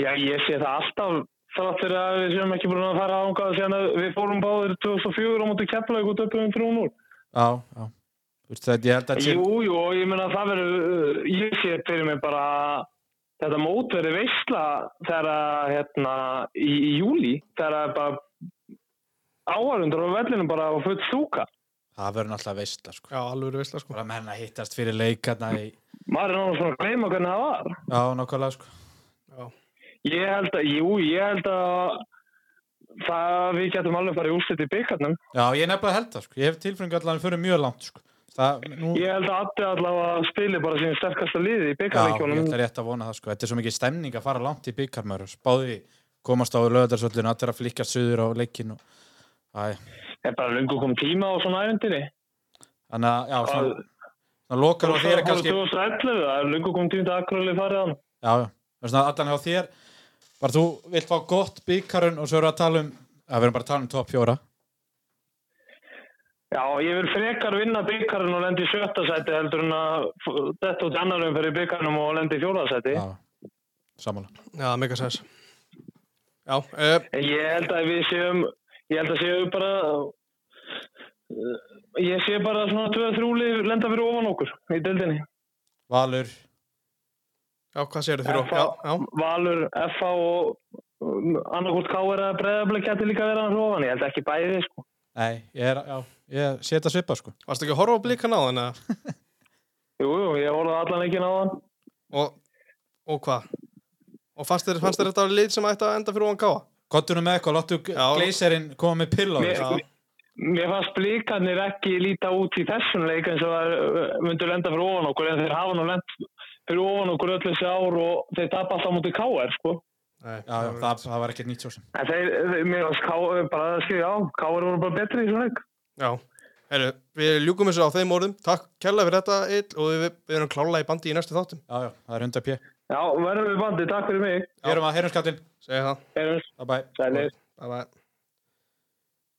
Speaker 3: Já, ég sé það alltaf þrátt fyrir að við séum ekki búin að fara ángað síðan að við fórum báðir 2004 á móti Keflavík út upp um 3-0.
Speaker 1: Já, já. Þú veist, þetta, ég held að sé,
Speaker 3: Jú, jú, og ég meina það verður, uh, ég sé fyrir mig bara þetta mót verður veisla þegar að, hérna, í, í júli, þegar að bara áhærundur á vellinu bara á full stúka.
Speaker 1: það verður náttúrulega veistla sko.
Speaker 2: Já, alveg verið veistla sko
Speaker 1: bara menn að hittast fyrir leikarna í...
Speaker 3: Maður er náttúrulega svona að gleyma hvernig það var.
Speaker 1: já, nákvæmlega sko.
Speaker 2: Já,
Speaker 3: Ég held að, jú, ég held að það við getum alveg bara í úrslit í byggarnum.
Speaker 1: já, ég er nefnilega held það sko. ég hef tilfengu allan fyrir mjög langt sko. það, nú...
Speaker 3: Ég held að Addi allavega spili bara sín sterkasta liði
Speaker 1: Já,
Speaker 3: í
Speaker 1: ég
Speaker 3: byggarleikjónum.
Speaker 1: ætla rétt að vona það sko. Þetta er svo mikið stemning að fara langt í byggarmöru Báði komast á löðarsöllun Allir að flikka suður á leikin og... Æ,
Speaker 3: Ég er bara lungu kom tíma á svona æfendinni.
Speaker 1: Þannig að, já, svona, svona lokar á
Speaker 3: Það
Speaker 1: þér
Speaker 3: er
Speaker 1: kannski
Speaker 3: 2011, það er lungu kom tíma til Akureyri farið hann.
Speaker 1: Já, já, Það er svona allan hjá þér Bara þú vilt fá gott byggarun og svo erum við að tala um Það verðum bara að tala um top fjóra
Speaker 3: Já, ég vil frekar vinna byggarinn og lendi í sjötta sæti heldur en að f- detta út í annar umferð í byggarnum og lendi í fjóða sæti.
Speaker 1: Já, sammála
Speaker 2: já mega sæs Já, uh,
Speaker 3: En Ég held að við séum, ég held að séum bara, eh, ég sé bara svona 2-3 lið lenda fyrir ofan okkur í dildinni.
Speaker 1: Valur,
Speaker 2: já hvað séru þér
Speaker 3: FH,
Speaker 2: Já, já,
Speaker 3: Valur, FH og annarkort K.R. að breyðabla geti líka verið hann ofan. Ég held ekki bæði þið sko.
Speaker 1: nei, ég er já, Ég sé þetta svipa sko
Speaker 2: varstu ekki að horfa á blíkan á þannig að
Speaker 3: Jú, jú, ég horfði á allan ekki náðan.
Speaker 2: og, og hvað og fannst þér, fannst þér þetta að lið sem ætti að enda fyrir ofan káa
Speaker 1: Kottunum með eitthvað, láttu
Speaker 2: Já.
Speaker 1: gleiserinn koma með pill á
Speaker 3: Mér,
Speaker 1: þér
Speaker 2: já.
Speaker 3: mér fannst blíkarnir ekki líta út í þessum leik eins og það eh, myndu lenda fyrir ofan okkur en þeir hafa nú lent fyrir ofan okkur öll þessi ár og þeir tapa alltaf mútið K.R. sko.
Speaker 2: Nei,
Speaker 1: Já, já, það, það var ekkert nýtt svo sem
Speaker 3: En þeir, þeir- mér fannst K.R. bara að skilja á, K.R. voru bara betri í svona leik.
Speaker 2: Já, herru, við ljúkum þessu á þeim orðum Takk kærlega fyrir þetta, Eil og við, við erum klálega í bandi í næstu þáttum
Speaker 1: Já, já, það er 100 pjö
Speaker 3: Já, verðum við bandi, takk fyrir mig.
Speaker 1: Við erum að heyrum skallin,
Speaker 2: Segja það,
Speaker 3: Erins,
Speaker 1: bye bye
Speaker 3: sælir.
Speaker 2: bye bye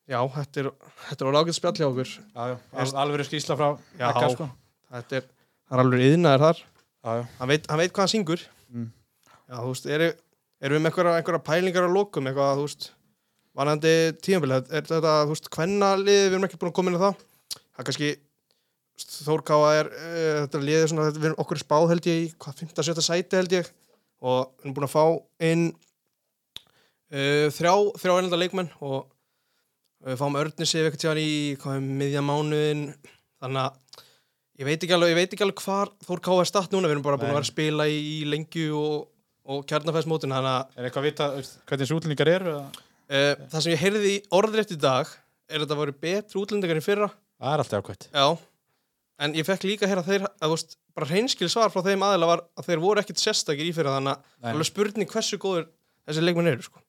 Speaker 2: Já, þetta er, þetta er ágætt spjall hjá okkur
Speaker 1: Já, já, al- alvöru skýsla frá
Speaker 2: Já.
Speaker 1: Ekka, sko.
Speaker 2: Þetta er, það er alveg yðnaður þar
Speaker 1: já, já.
Speaker 2: hann veit, hann veit hvað hann syngur
Speaker 1: Mm.
Speaker 2: já, þú veist, eru erum við með einhverja, einhverja pælingar að lokum eitthvað, þú veist, vanandi tímabili er þetta, þú veist, kvennalið við erum ekki búin að koma inn á það það er kannski, þú veist, Þór Káa er uh, þetta er liðið svona, þetta, við erum okkur er spáð held ég í hvað, 15-17 sæti held ég og við erum búin að fá inn uh, þrjá, þrjá ennenda leikmenn og uh, fáum Örnisif eitthvað tíðan í hvað, er, miðja mánuðin þannig að Ég veit ekki alveg, ég veit ekki alveg hvar Þór Ká er statt núna, við erum bara búin
Speaker 1: Nei.
Speaker 2: að vera að spila í, í lengju og, og kjarnafæðsmótin þannig að
Speaker 1: Er eitthvað að vita veist, hvernig þessu útlendingar eru? eða?
Speaker 2: uh, það sem ég heyrði í orðrétt í dag er að þetta voru betri útlendingar en í fyrra
Speaker 1: Það er alltaf ákvæmt
Speaker 2: Já, en ég fekk líka að heyra að þeir, að þú veist, bara reynskil svar frá þeim aðeila var að þeir voru ekkit sérstakir í fyrra þannig að
Speaker 1: Nei.
Speaker 2: alveg spurning hversu góður þessi leikmenn eru sko.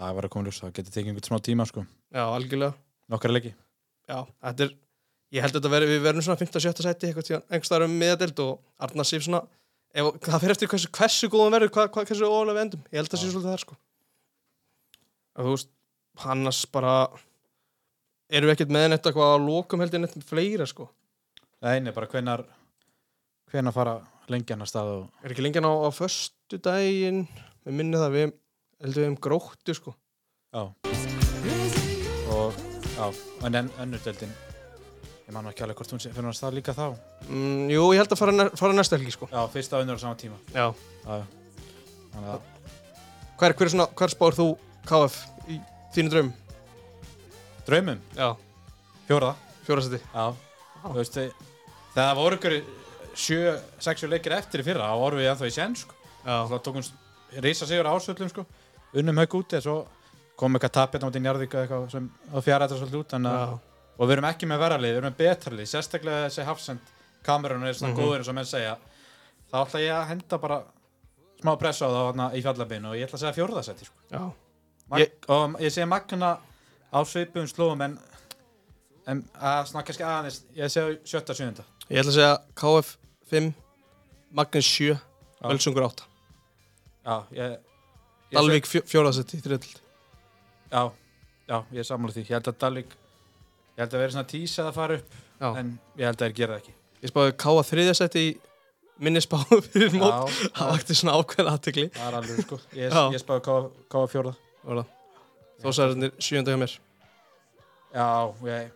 Speaker 1: Það var að koma ljós, það getur tekið einhvern smá tíma sko.
Speaker 2: Já, algjörlega
Speaker 1: Nokkar leiki
Speaker 2: Já, þetta er, ég held að þetta veri, við verðum svona 15-17 sæti eitthvað tíðan, einhvers staðar um miðadelt og Arnar Sif svona, ef, það fyrir eftir hversu, hversu góðan verður, hvað, hvað, hversu ólega við endum, ég held að það sé
Speaker 1: Já.
Speaker 2: svolítið þar sko. Og þú veist, Hannas bara, erum við ekkert með neitt eitthvað að lokum held ég neitt fleira sko.
Speaker 1: Nei, nei, bara hvenar hvenar fara lengi annar stað og...
Speaker 2: Er ekki lengjan á, á föstu daginn, við minni það, við heldum við um gróttu sko.
Speaker 1: Já og, Já, en en önnur deildin Ég man nú ekki alveg hvort hún sé fyrir hann stað líka þá
Speaker 2: Mm, jú, ég held að fara, ne fara næsta helgi sko.
Speaker 1: Já, fyrsta og önnur á sama tíma
Speaker 2: Já.
Speaker 1: Já, já Þannig að
Speaker 2: Hver, hver, er svona, hver spáir þú KF í þínu draum?
Speaker 1: Draumum,
Speaker 2: Já,
Speaker 1: fjóra
Speaker 2: fjórasæti.
Speaker 1: Já, þú veist Þegar voru ykkur sjö, sexu leikir eftir í fyrra þá voru við ennþá í sen sko.
Speaker 2: Já.
Speaker 1: þá tókum reysa sigur ásöldum sko. unnum haug úti svo kom eitthvað tapir náttúrulega í Njarðvík og eitthvað sem að fjara þetta svolítið út þannig að-
Speaker 2: Já.
Speaker 1: og við erum ekki með verra lið, við erum með betra lið sérstaklega þessi hafsend kamerun er
Speaker 2: Mhm.
Speaker 1: svona góður eins og menn segja þá ætla ég að henda bara smá press á það hana, í fjallabinu og ég ætla að segja fjórðasetti sko.
Speaker 2: Já.
Speaker 1: Mag-
Speaker 2: Ég-
Speaker 1: og ég segja Magna á svipum slóum en, en að svona kannski aðeins ég segja sjötta sjöunda
Speaker 2: Ég ætla að segja KF 5, Magnus 7, Völsungur 8.
Speaker 1: já, ég, ég seg-
Speaker 2: Dalvík fjóraðsett í þriðald.
Speaker 1: Já, já, ég er sammála því. Ég held að Dalvik, ég held að vera svona tísa að fara upp,
Speaker 2: Já.
Speaker 1: en ég held að þeir gera það ekki.
Speaker 2: Ég spáði KF þriðasett í minni spáðu fyrir mót.
Speaker 1: Já,
Speaker 2: Það vakti svona ákveðan aðtegli.
Speaker 1: það er alveg sko. Ég,
Speaker 2: Já.
Speaker 1: ég spáði K- KF fjórða.
Speaker 2: Þó sæðarnir sjöunda hjá mér.
Speaker 1: Já, ég,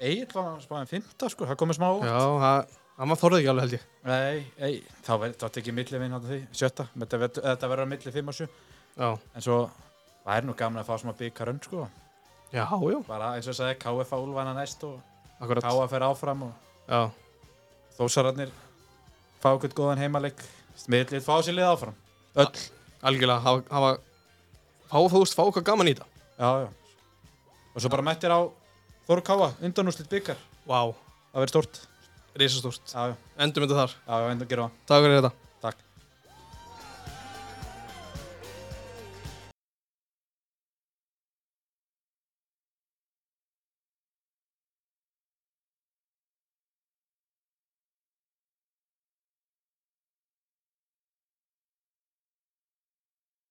Speaker 1: Egil var að spáði fymta sko, það komið smá. á óvart.
Speaker 2: Já, það, það maður þorði ekki alveg held ég.
Speaker 1: Nei, ei, þá verður þetta ekki millið vinn hann því, sjötta. Þetta, verður- þetta verður að millið fimm og sjö.
Speaker 2: Já.
Speaker 1: En svo, það er nú gaman að fá smá byggarönd sko.
Speaker 2: Já, já.
Speaker 1: Bara eins og ég sagði, KF á Úlfana næst og
Speaker 2: akkurat
Speaker 1: Káa fer áfram og
Speaker 2: Já,
Speaker 1: Þósararnir fá okkur góðan heimaleik Smidlið fá sér lið áfram Öll
Speaker 2: algjörlega hafa, hafa fá, þú veist, fá okkar gaman í þetta
Speaker 1: Já, já Og svo bara mættir á Þóru Káa undanúslit byggar
Speaker 2: Vá, wow.
Speaker 1: Það verður stórt
Speaker 2: risastórt
Speaker 1: Já, já,
Speaker 2: Endum þetta þar,
Speaker 1: já, já, endur gerum það
Speaker 2: takk fyrir þetta